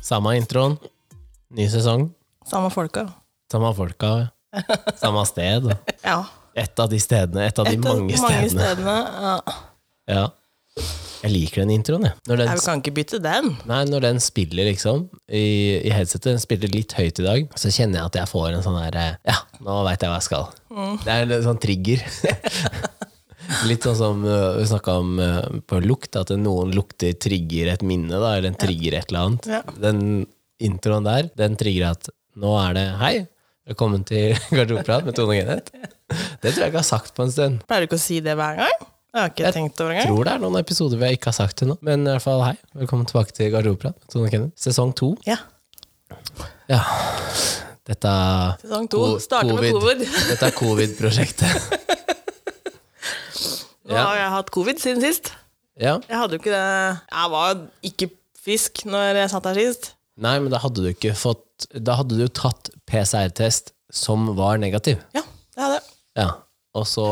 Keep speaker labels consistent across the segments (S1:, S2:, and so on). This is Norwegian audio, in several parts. S1: Samme introen. Ny sesong.
S2: Samme folka.
S1: Samme folka. Samme sted.
S2: Ja.
S1: Et av de stedene. Et av de
S2: Et av
S1: mange
S2: mange
S1: stedene.
S2: stedene. Ja.
S1: Ja. Jeg liker den introen, jeg. Når
S2: Nei,
S1: den,
S2: vi kan ikke bytte den.
S1: nei, når den spiller, liksom, i, i headsetet, den spiller litt høyt i dag, så kjenner jeg at jeg får en sånn her eh, Ja, nå veit jeg hva jeg skal. Det er en sånn trigger. litt sånn som eh, vi snakka om eh, på lukt, at noen lukter trigger et minne, da, eller en trigger et eller annet.
S2: Ja.
S1: Den introen der, den trigger at nå er det Hei, velkommen til Garderobeprat med Tone Geneth. Det tror jeg ikke jeg har sagt på en stund.
S2: Pleier du ikke å si det hver gang? Det har jeg ikke tenkt over engang.
S1: tror det er noen episoder vi ikke har sagt til nå. Men i hvert fall hei, velkommen tilbake til Garderobeprat. Tone og Kenneth. Sesong to.
S2: Ja.
S1: Ja. Dette
S2: Sesong to
S1: Ko-
S2: starter med covid.
S1: Dette er covid-prosjektet.
S2: Nå har jeg hatt covid siden sist.
S1: Ja.
S2: Jeg hadde jo ikke det Jeg var jo ikke frisk når jeg satt her sist.
S1: Nei, men da hadde du ikke fått Da hadde du tatt PCR-test som var negativ.
S2: Ja, det hadde jeg.
S1: Ja. Og så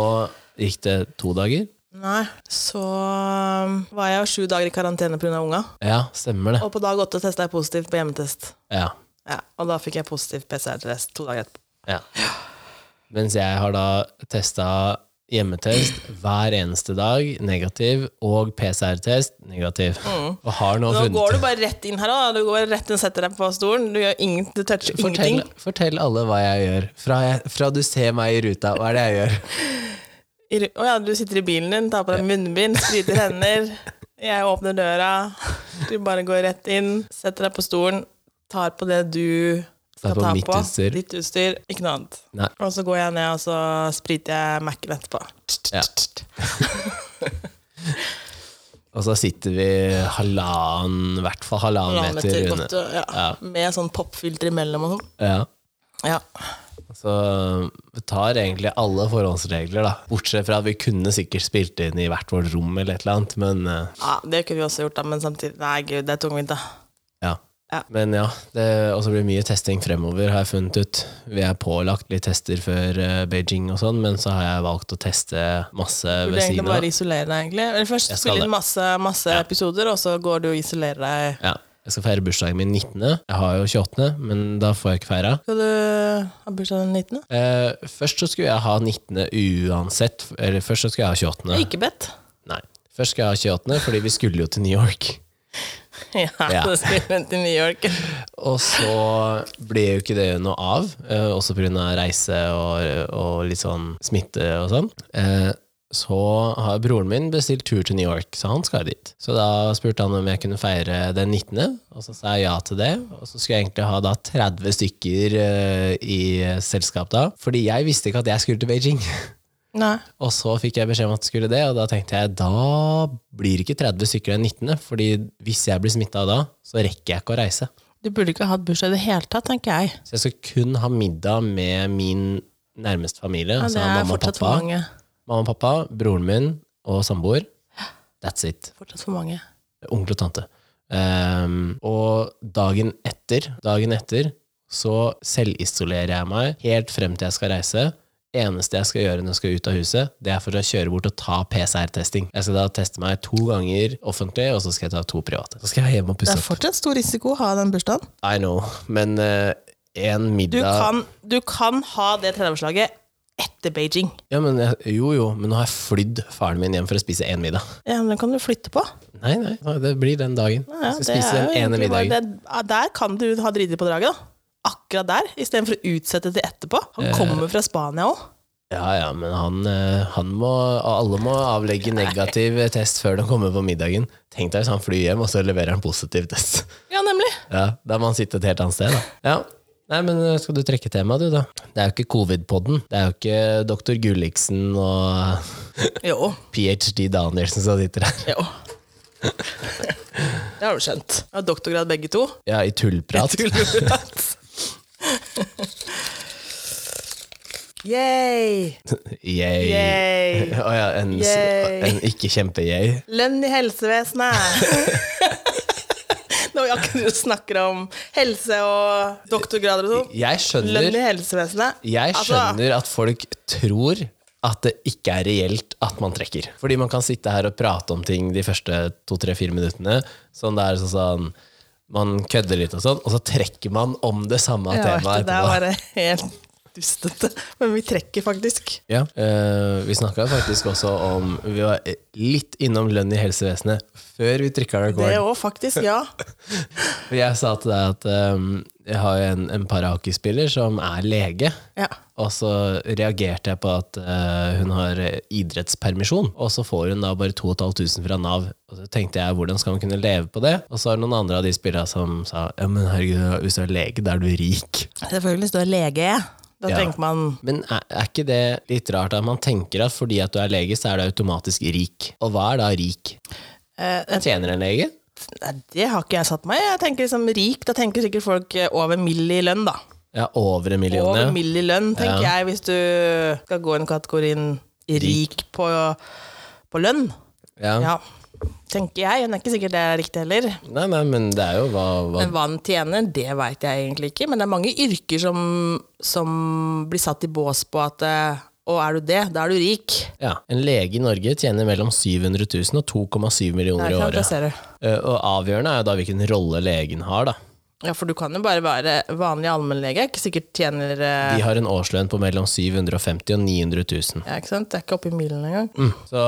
S1: gikk det to dager.
S2: Nei. Så um, var jeg jo sju dager i karantene pga. unga.
S1: Ja, stemmer det.
S2: Og på dag åtte testa jeg positivt på hjemmetest.
S1: Ja.
S2: Ja, og da fikk jeg positiv PCR-test to dager etterpå.
S1: ja. Mens jeg har da testa hjemmetest hver eneste dag, negativ, og PCR-test, negativ. Og har nå,
S2: Mm. Nå
S1: funnet
S2: går du bare rett inn her, da. Du går rett inn og setter deg på stolen. Du gjør ingen, du toucher
S1: Fortell,
S2: ingenting.
S1: fortell alle hva jeg gjør. Fra, jeg, fra du ser meg i ruta, hva er det jeg gjør?
S2: I ru- Å ja, du sitter i bilen din, tar på deg munnbind, spriter hender. Jeg åpner døra. Du bare går rett inn, setter deg på stolen, tar på det du
S1: Tar
S2: skal
S1: på
S2: ta
S1: mitt
S2: på.
S1: utstyr.
S2: Ditt utstyr, ikke noe annet.
S1: Nei.
S2: Og så går jeg ned, og så spriter jeg Mac-en etterpå.
S1: Ja. Og så sitter vi halvannen, i hvert fall halvannen
S2: Halvannen
S1: meter
S2: meter
S1: unna.
S2: godt, ja. Med sånn popfilter imellom og sånn.
S1: Ja.
S2: Ja.
S1: Så vi tar egentlig alle forhåndsregler, da. Bortsett fra at vi kunne sikkert spilt inn i hvert vårt rom eller et eller annet, men eh,
S2: ja, det kunne vi også gjort, da, men samtidig Nei, gud, det er tungvint, da.
S1: ja.
S2: Ja.
S1: Men ja, det også blir mye testing fremover, har jeg funnet ut. Vi er pålagt litt tester før eh, Beijing og sånn, men så har jeg valgt å teste masse
S2: Burde
S1: ved
S2: egentlig
S1: siden av.
S2: bare isolere deg, egentlig. Eller
S1: Jeg
S2: først
S1: skal
S2: spille
S1: det.
S2: inn masse, masse episoder, og så går du og isolerer deg.
S1: Ja. Jeg skal feire bursdagen min 19. Jeg har jo 28., men da får jeg ikke feira.
S2: Skal du ha bursdag den 19.?
S1: Eh, først så skulle jeg ha 19. uansett. Eller først så skulle jeg ha 28.
S2: Ikke bedt.
S1: Nei. Først skal jeg ha 28., fordi vi skulle jo til New York.
S2: Ja,
S1: Ja.
S2: så skriver hun til New York.
S1: Og så ble jo ikke det noe av, eh, også pga. reise og, og litt sånn smitte og sånn. Eh, så har broren min bestilt tur til New York, så han skal dit. Så da spurte han om jeg kunne feire den 19., og så sa jeg ja til det. Og så skulle jeg egentlig ha da 30 stykker eh, i selskap da, fordi jeg visste ikke at jeg skulle til Beijing.
S2: Nei.
S1: Og så fikk jeg beskjed om at det skulle det, og da tenkte jeg da blir det ikke 30 stykker den 19., fordi hvis jeg blir smitta da, så rekker jeg ikke å reise.
S2: Du burde ikke ha hatt bursdag i det hele tatt, tenker jeg.
S1: Så jeg skal kun ha middag med min nærmeste familie.
S2: Ja,
S1: altså
S2: det er
S1: mamma og,
S2: fortsatt for
S1: pappa,
S2: mange.
S1: mamma og pappa, broren min og samboer. That's it.
S2: Fortsatt for mange.
S1: Onkel og tante. Ehm, og dagen etter, dagen etter så selvisolerer jeg meg helt frem til jeg skal reise. Eneste jeg skal gjøre når jeg skal ut av huset, det er for å kjøre bort og ta PCR-testing. Jeg skal da teste meg to ganger offentlig, og så skal jeg ta to private. Så skal jeg hjem og
S2: Det
S1: pusse
S2: er
S1: opp.
S2: fortsatt stor risiko å ha den bursdagen.
S1: I know, men eh, en
S2: Du,
S1: middag
S2: kan, du kan ha det 30-årslaget etter Beijing.
S1: Ja, men jeg, jo, jo, men nå har jeg flydd faren min hjem for å spise én middag.
S2: Ja, men den kan du flytte på.
S1: Nei, nei, det blir den dagen.
S2: Ja,
S1: jeg skal
S2: det
S1: spise den
S2: er jo
S1: ene
S2: egentlig bare
S1: middagen.
S2: det- ja, Der kan du ha driti på draget, da. Akkurat der, istedenfor å utsette til etterpå.
S1: Eh.
S2: Han kommer fra Spania òg.
S1: Ja, ja, men han, eh, han må Alle må avlegge negativ test før de kommer på middagen. Tenk deg hvis han flyr hjem, og så leverer han positiv test.
S2: Ja, nemlig.
S1: Ja, Da må han sitte et helt annet sted, da. Ja. Nei, men eh, skal du trekke temaet, du, da? Det er jo ikke covid-podden. Det er jo ikke doktor Gulliksen og
S2: Jo.
S1: ph.d. Danielsen som sitter her.
S2: jo. Det har du skjønt. Ja, doktorgrad begge to.
S1: Ja, i tullprat.
S2: Yay!
S1: Yay.
S2: Yay!
S1: Å ja, en,
S2: Yay.
S1: en ikke-kjempe-yay.
S2: Lønn i helsevesenet! Når vi akkurat snakker om helse og doktorgrader og sånn.
S1: Jeg
S2: Lønn
S1: skjønner,
S2: i helsevesenet.
S1: jeg
S2: Altså,
S1: skjønner at folk tror at det ikke er reelt at man trekker. Fordi man kan sitte her og prate om ting de første to, tre, fire minuttene. Sånn det er sånn sånn man kødder litt og sånn, og så trekker man om det samme
S2: Ja, vet
S1: temaet
S2: du, det er
S1: etterpå.
S2: bare helt dustete. Men vi trekker faktisk.
S1: Ja. Eh, vi snakka faktisk også om Vi var litt innom lønn i helsevesenet før vi trykka
S2: Det
S1: record.
S2: òg, faktisk. Ja.
S1: For Jeg sa til deg at eh, jeg har jo en, en parahockeyspiller som er lege.
S2: ja.
S1: Og så reagerte jeg på at eh, hun har idrettspermisjon, og så får hun da bare 2500 fra Nav. Og så tenkte jeg, hvordan skal hun kunne leve på det? Og så er det noen andre av de spillerne som sa, ja, men herregud, hvis du er lege, da er du rik.
S2: Selvfølgelig står lege. Da
S1: Ja.
S2: tenker man
S1: Men er, er ikke det litt rart at man tenker at fordi at du er lege, så er du automatisk rik? Og hva er da rik?
S2: eh,
S1: Tjener en lege?
S2: Nei, det har ikke jeg satt meg i. Jeg tenker liksom rik, da tenker sikkert folk eh, over mill i lønn, da.
S1: Ja, over en million,
S2: Over
S1: ja.
S2: mill i lønn, tenker
S1: Ja.
S2: jeg, hvis du skal gå inn kategorien rik på, på lønn.
S1: ja.
S2: Ja, tenker jeg. Men det er ikke sikkert det er riktig heller.
S1: Nei, nei, men det er jo hva, hva
S2: Men hva den tjener, det veit jeg egentlig ikke. Men det er mange yrker som, som blir satt i bås på at eh, Å, er du det? Da er du rik.
S1: ja. En lege i Norge tjener mellom 700 000 og 2,7 millioner
S2: Det
S1: i
S2: er sant, det
S1: året.
S2: ser du.
S1: Eh, Og avgjørende er jo da hvilken rolle legen har, da.
S2: Ja, for du kan jo bare være vanlig allmennlege. Ikke sikkert tjener eh,
S1: De har en årslønn på mellom 750 000 og 900 000.
S2: ja, ikke sant? Det er ikke oppi milen engang.
S1: Mm. Så,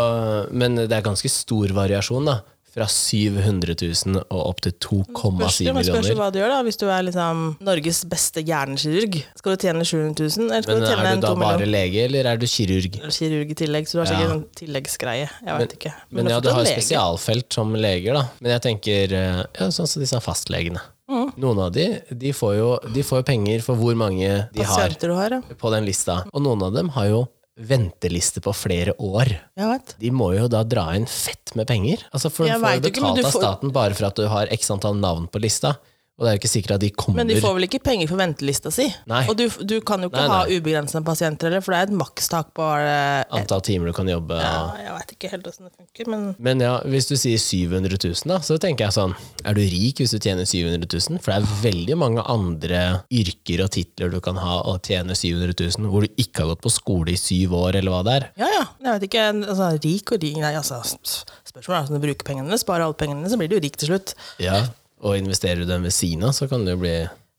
S1: men det er ganske stor variasjon, da. Fra 700 000 og opp til 2,7
S2: Spørs- men spørs jo
S1: millioner.
S2: hva du gjør, da. Hvis du er liksom Norges beste hjernekirurg, skal du tjene 700 000, eller skal
S1: Men
S2: du tjene
S1: er
S2: en
S1: du da
S2: 2
S1: bare
S2: millioner?
S1: lege, eller er du kirurg?
S2: Kirurg i tillegg, så du har
S1: Ja.
S2: sikkert en tilleggsgreie. Jeg vet ikke.
S1: Men
S2: det
S1: ja,
S2: er
S1: du
S2: fortsatt
S1: har
S2: lege.
S1: spesialfelt som leger, da. Men jeg tenker eh, ja, sånn som disse fastlegene.
S2: Mm.
S1: Noen av de, de får jo de får jo penger for hvor mange de har
S2: Pasienter du har, ja.
S1: på den lista. Og noen av dem har jo venteliste på flere år.
S2: Jeg vet.
S1: De må jo da dra inn fett med penger. Altså for
S2: Jeg
S1: Du får
S2: vet
S1: jo
S2: ikke, men
S1: betalt
S2: du
S1: av
S2: får-
S1: staten bare for at du har x antall navn på lista. Og det er jo ikke sikkert at de kommer.
S2: Men de får vel ikke penger for ventelista si?
S1: Nei.
S2: Og du, du kan jo ikke
S1: Nei,
S2: ha
S1: nei. Ah.
S2: ubegrensede pasienter heller, for det er et makstak på eh,
S1: Antall timer du kan jobbe.
S2: ja, Jeg vet ikke helt åssen det funker, men
S1: Men ja, hvis du sier 700 000, da, så tenker jeg sånn Er du rik hvis du tjener 700 000? For det er veldig mange andre yrker og titler du kan ha og tjene 700 000, hvor du ikke har gått på skole i syv år, eller hva det er.
S2: ja ja. Jeg vet ikke. Altså, rik og rik Nei, altså, s- spørsmålet er hvordan du bruker pengene. Sparer alle pengene, så blir du jo rik til slutt.
S1: Ja. Og investerer du dem ved siden av, så kan du jo bli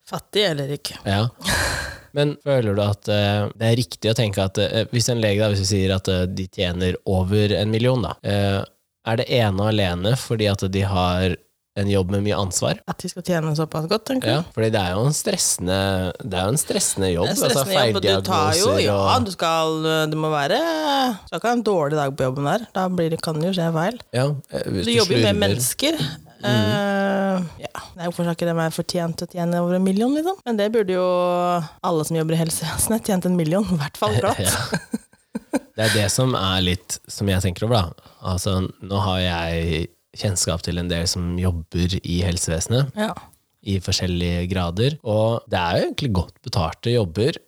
S2: Fattig eller rik.
S1: Ja. Men føler du at eh, det er riktig å tenke at eh, hvis en lege da, hvis vi sier at eh, de tjener over en million, da, eh, er det ene og alene fordi at de har en jobb med mye ansvar?
S2: At de skal tjene såpass godt, tenker jeg.
S1: Ja, fordi det er jo en stressende, det er jo en stressende jobb.
S2: Mm. Det er stressende jobb, og du tar jo
S1: feildiagnoser
S2: Ja,
S1: og-
S2: du skal eh, Det må være Du skal ikke ha en dårlig dag på jobben der. Da blir det, kan det jo skje feil.
S1: ja, eh, hvis Mm.
S2: Du, jobber jo med
S1: slurver-
S2: mennesker. Eh, ja. Nei, Hvorfor skal ikke de være fortjent til å tjene over en million, liksom? Men det burde jo alle som jobber i helsevesenet, tjent en million. I hvert fall glatt.
S1: Ja. Det er det som er litt som jeg tenker over, da. Altså, nå har jeg kjennskap til en del som jobber i helsevesenet
S2: Ja.
S1: i forskjellige grader, og det er jo egentlig godt betalte jobber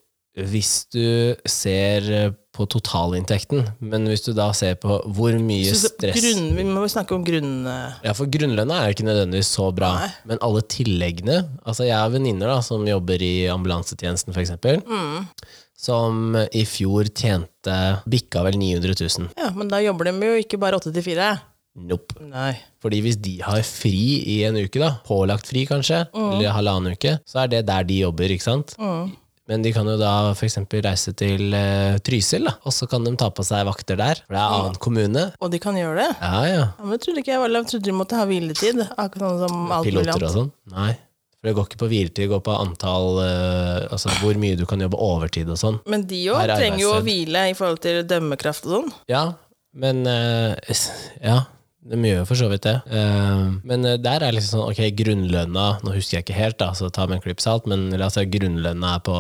S1: hvis du ser eh, på totalinntekten, men hvis du da ser på hvor mye
S2: Så
S1: stress
S2: grunn, vi må jo snakke om grunn... eh,
S1: Ja, for grunnlønna er jo ikke nødvendigvis så bra,
S2: Nei.
S1: men alle tilleggene Altså, jeg har venninner da, som jobber i ambulansetjenesten, for eksempel, som i fjor tjente bikka vel 900 000.
S2: Ja, men da jobber de jo ikke bare åtte til fire.
S1: Nope.
S2: Nei.
S1: Fordi hvis de har fri i en uke, da, pålagt fri kanskje, eller halvannen uke, så er det der de jobber, ikke sant?
S2: Mm.
S1: Men de kan jo da for eksempel reise til eh, Trysil, da, og så kan de ta på seg vakter der, for det er annen kommune.
S2: Og de kan gjøre det.
S1: Ja, ja.
S2: Ja, men jeg trodde ikke jeg var Jeg trodde de måtte ha hviletid. Akkurat sånn som alt mulig
S1: piloter
S2: annet.
S1: og sånn? Nei. For det går ikke på hviletid, det går på antall eh, Altså hvor mye du kan jobbe overtid og sånn.
S2: Men de
S1: Her
S2: òg
S1: er
S2: trenger jo å
S1: arbeidstid.
S2: hvile i forhold til dømmekraft og sånn.
S1: Ja, men eh, s- Ja, de gjør jo for så vidt det. Eh, men eh, der er liksom sånn Ok, grunnlønna Nå husker jeg ikke helt, da, så ta med en klype salt, men la oss si at grunnlønna er på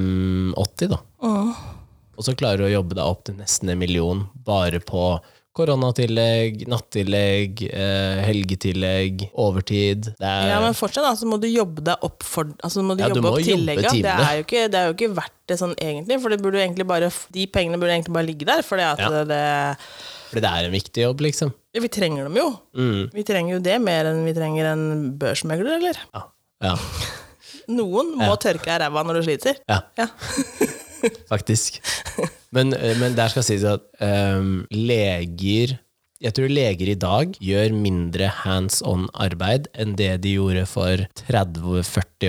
S1: 580, da. Og så klarer du å jobbe deg opp til nesten en million bare på koronatillegg, nattillegg, eh, helgetillegg, overtid. Det er
S2: Ja, men fortsatt da, så må du jobbe deg opp for altså, må du
S1: Eh, Ja, du
S2: jobbe
S1: må
S2: opp
S1: jobbe
S2: tillegget. Det
S1: timene.
S2: er, jo ikke, det er jo ikke verdt det sånn egentlig, for det burde jo egentlig bare, de pengene burde egentlig bare ligge der. For at
S1: Ja.
S2: det,
S1: Fordi det er en viktig jobb, liksom.
S2: det, vi trenger dem jo.
S1: Mm.
S2: Vi trenger jo det mer enn vi trenger en børsmegler, eller?
S1: Ja. ja.
S2: Noen må tørke av ræva når du sliter.
S1: Ja.
S2: Ja.
S1: Faktisk. Men, eh, men der skal sies at eh, ehm, leger Jeg tror leger i dag gjør mindre hands on-arbeid enn det de gjorde for 30-40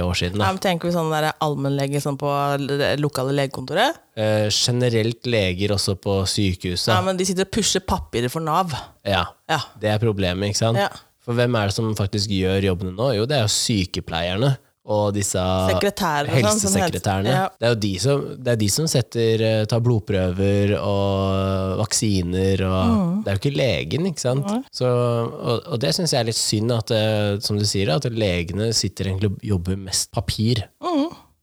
S1: år siden. Da.
S2: Ja, men tenker vi sånn der allmennlege sånn på det lokale legekontoret?
S1: Eh, generelt leger også på
S2: Ja,
S1: sykehuset.
S2: men de sitter og pusher papirer for Nav.
S1: Ja,
S2: Ja.
S1: Det er problemet, ikke sant?
S2: Ja.
S1: For hvem er det som faktisk gjør jobbene nå? Jo, det er jo sykepleierne og disse
S2: Sekretærer og sånn, som
S1: helsesekretærene.
S2: helse- ja.
S1: Det er jo de som, det er de som setter, eh, tar blodprøver og vaksiner og
S2: Mm.
S1: Det er jo ikke legen, ikke sant? Så, og, og det syns jeg er litt synd, at, eh, som du sier, at legene sitter egentlig og jobber mest papir.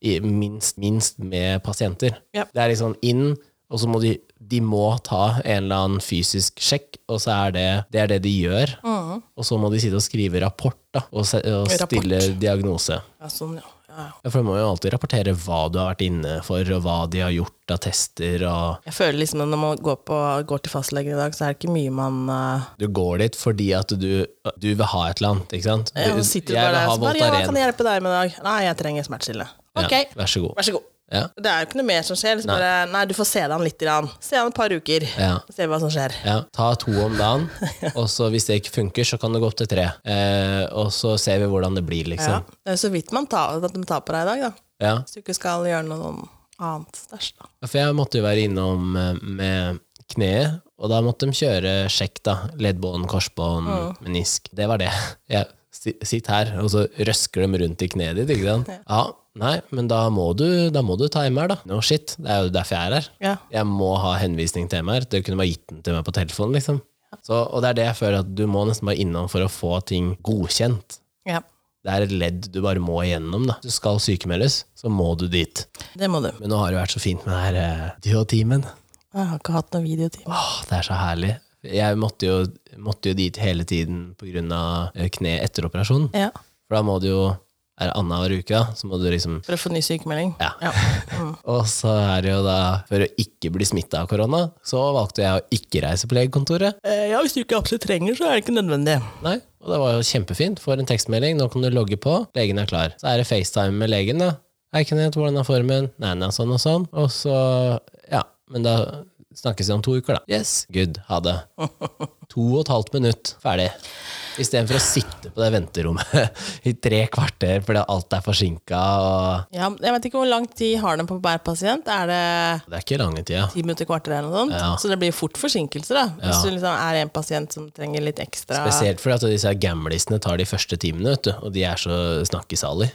S1: I, minst, minst med pasienter.
S2: Mm. Ja.
S1: Det er liksom inn, og så må de de må ta en eller annen fysisk sjekk, og så er det det, er det de gjør. Og så må de sitte og skrive rapport da, og, se, og
S2: Mm. Rapport.
S1: stille diagnose.
S2: Ja, sånn, ja. Ja.
S1: Ja, for de må jo alltid rapportere hva du har vært inne for, og hva de har gjort av tester, og
S2: Jeg føler liksom at når man går, på, går til fastlegen i dag, så er det ikke mye man eh,
S1: du går dit fordi at du, du vil ha et eller annet, ikke sant?
S2: ja,
S1: Du-
S2: man sitter
S1: jeg
S2: bare
S1: vil
S2: der
S1: ha
S2: og så bare, ja, hva
S1: Voltaren.
S2: kan jeg hjelpe deg med i dag? Nei, jeg trenger smertestillende.
S1: Ja,
S2: Ok,
S1: Vær så god.
S2: vær så god.
S1: Ja.
S2: Det er jo ikke noe mer som skjer. Liksom nei. Bare, nei, du får se deg an litt. Grann. Se an et par uker.
S1: Ja.
S2: Se hva som skjer.
S1: Ja, ta to om dagen, og så hvis det ikke funker, så kan det gå opp til tre. Eh, og så ser vi hvordan det blir,
S2: Ja.
S1: liksom.
S2: Det er jo så vidt man tar, at de tar på deg i dag, da.
S1: Ja.
S2: Hvis du ikke skal gjøre noe noe annet stæsj, da.
S1: For jeg måtte jo være innom eh, med kneet, og da måtte de kjøre sjekk, da. Leddbånd, korsbånd, menisk. Det var det. Jeg, si- sitt her, og så røsker de rundt i kneet ditt, ikke sant? Ja. Nei, men da må du, da må du ta MR, da. No shit, det er jo derfor jeg er her.
S2: Ja.
S1: Jeg må ha henvisning til MR. Dere kunne bare gitt den til meg på telefonen, liksom. Så, og det er det jeg føler at du må nesten bare innom for å få ting godkjent.
S2: ja.
S1: Det er et ledd du bare må igjennom, da. Du skal sykemeldes, så må du dit.
S2: Det må du.
S1: Men nå har det vært så fint med den her eh, duo-teamen.
S2: Jeg har ikke hatt noen videotime.
S1: Åh, det er så herlig. Jeg måtte jo, måtte jo dit hele tiden på grunn av eh, kne etter operasjonen.
S2: Ja.
S1: For da må du jo, er det annenhver uke, da, så må du liksom
S2: For å få ny sykemelding.
S1: Ja.
S2: Mm.
S1: Og så er det jo da, for å ikke bli smitta av korona, så valgte jeg å ikke reise på legekontoret.
S2: Eh, ja, hvis du ikke absolutt trenger, så er det ikke nødvendig.
S1: Nei, og det var jo kjempefint. Får en tekstmelding, nå kan du logge på, legen er klar. Så er det FaceTime med legen, da. Hei, Kenneth, hvordan er formen? Nei, nei, sånn og sånn. Og så, ja, men da snakkes vi om to uker, da. Yes, good, ha det. To og et halvt minutt, ferdig. Istedenfor å sitte på det venterommet i tre kvarter fordi alt er forsinka og
S2: Ja, men jeg vet ikke hvor lang tid har de på hver pasient. Er det
S1: Det er ikke lange tida.
S2: ti minutter, kvarter eller noe sånt?
S1: Ja.
S2: Så det blir fort forsinkelser, da. Hvis
S1: Ja.
S2: du liksom er en pasient som trenger litt ekstra
S1: Spesielt fordi at disse her gamlisene tar de første timene, vet du, og de er så snakkesalig.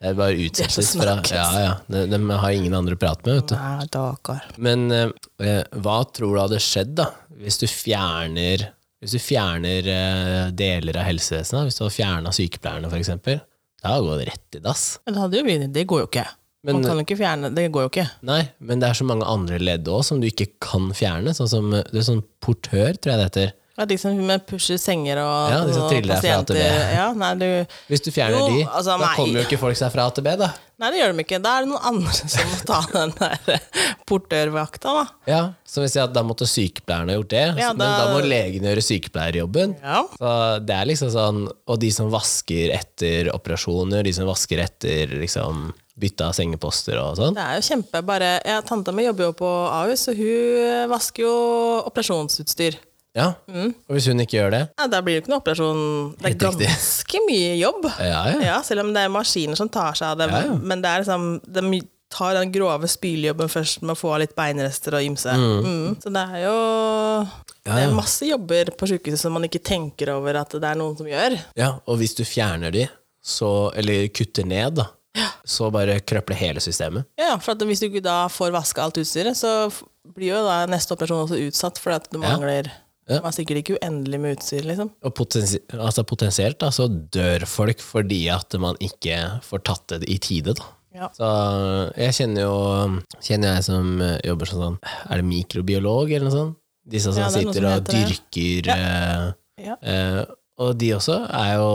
S1: Det er bare utsettes fra
S2: snakkes.
S1: ja, ja. De, de har ingen andre å prate med, vet du.
S2: Nei, dagar.
S1: Men eh, eh, hva tror du hadde skjedd da, hvis du fjerner, hvis du fjerner eh, deler av helsevesenet, hvis du hadde fjernet sykepleierne for eksempel? Da går det rett i dass.
S2: Men det hadde jo begynt, det går jo ikke.
S1: Men- eh,
S2: Man kan jo ikke fjerne Det går jo ikke.
S1: Nei, men det er så mange andre ledd også som du ikke kan fjerne, sånn som eh, det er sånn portør, tror jeg det heter.
S2: Ja, de som pusher senger og,
S1: Ja, de som
S2: og
S1: triller deg fra A til B.
S2: Ja, nei, du,
S1: Hvis du fjerner
S2: Jo,
S1: de,
S2: altså,
S1: da
S2: nei.
S1: kommer jo ikke folk seg fra A til B da.
S2: nei, det gjør de ikke. Da er det noen andre som må ta den der eh, portørvakta, da.
S1: Ja, så hvis jeg at da måtte sykepleierne gjort det,
S2: Ja,
S1: men da
S2: da-
S1: må legen gjøre sykepleierjobben.
S2: Ja.
S1: Så det er liksom sånn, og de som vasker etter operasjoner, de som vasker etter liksom bytte av sengeposter og sånn.
S2: Det er jo kjempe bare ja, Tanta mi jobber jo på Ahus, og hun eh, vasker jo operasjonsutstyr.
S1: Ja,
S2: Mm.
S1: og hvis hun ikke gjør det,
S2: Ja, da blir det ikke noe operasjon. Det er
S1: Helt riktig.
S2: ganske mye jobb.
S1: ja, ja.
S2: Ja, selv om det er maskiner som tar seg av dem.
S1: Ja, ja.
S2: Men det er liksom, de tar den grove spylejobben først med å få av litt beinrester og ymse. Mm. Så det er jo Det er masse jobber på sykehuset som man ikke tenker over at det er noen som gjør.
S1: Ja, og hvis du fjerner de, så, eller kutter ned da, så bare krøpler hele systemet.
S2: Ja, for at hvis du ikke da får vaska alt utstyret, så f- blir jo da neste operasjon også utsatt, fordi at du mangler
S1: Ja.
S2: Man er sikkert ikke uendelig med utstyr, liksom.
S1: Og potensi altså potensielt da, så dør folk fordi at man ikke får tatt det i tide da.
S2: Ja.
S1: Så jeg kjenner jo Kjenner jeg som eh, jobber som sånn Er det mikrobiolog eller noe sånt? Disse som
S2: Ja, det er noe
S1: sitter og
S2: som heter
S1: dyrker
S2: Ja.
S1: eh, eh, Og de også er jo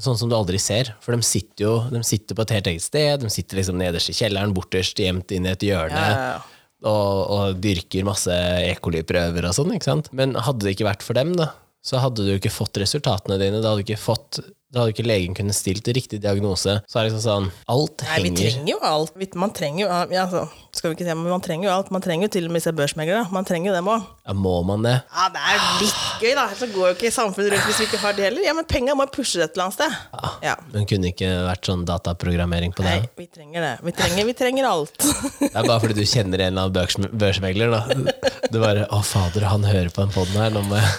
S1: sånn som du aldri ser. For de sitter jo de sitter på et helt eget sted. De sitter liksom nederst i kjelleren, borterst, gjemt inn i et hjørne.
S2: Ja, ja, ja.
S1: Og, og dyrker masse E. coli-prøver og sånn. ikke sant? Men hadde det ikke vært for dem, da, så hadde du ikke fått resultatene dine. Da hadde du ikke fått da hadde ikke legen kunnet stilt riktig diagnose. Så er det liksom sånn Alt
S2: Nei, vi
S1: henger
S2: trenger jo alt. Vi- Man trenger jo ja, altså, skal vi ikke si, men man trenger jo alt. Man trenger jo til og med disse børsmeglerne. Man trenger jo dem òg.
S1: Ja, må man det?
S2: Ja, det er litt gøy, da. Så går jo ikke samfunnet rundt hvis vi ikke har det heller. Ja, men penga må pushes et eller annet sted. Ja.
S1: Hun kunne ikke vært sånn dataprogrammering på det.
S2: Nei, vi trenger det. Vi trenger, vi trenger alt.
S1: Det er bare fordi du kjenner en eller annen børs- børsmegler, da. Du bare 'Å, fader, han hører på den poden her', nå må jeg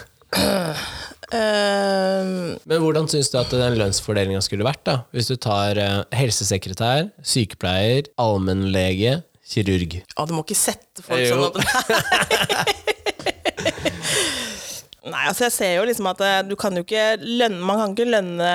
S2: Ehm,
S1: Men hvordan syns du at den lønnsfordelinga skulle vært, da? Hvis du tar eh, helsesekretær, sykepleier, allmennlege, kirurg.
S2: Å, du må ikke sette folk
S1: Jo.
S2: sånn at Nei, altså jeg ser jo liksom at eh, du kan jo ikke lønne Man kan ikke lønne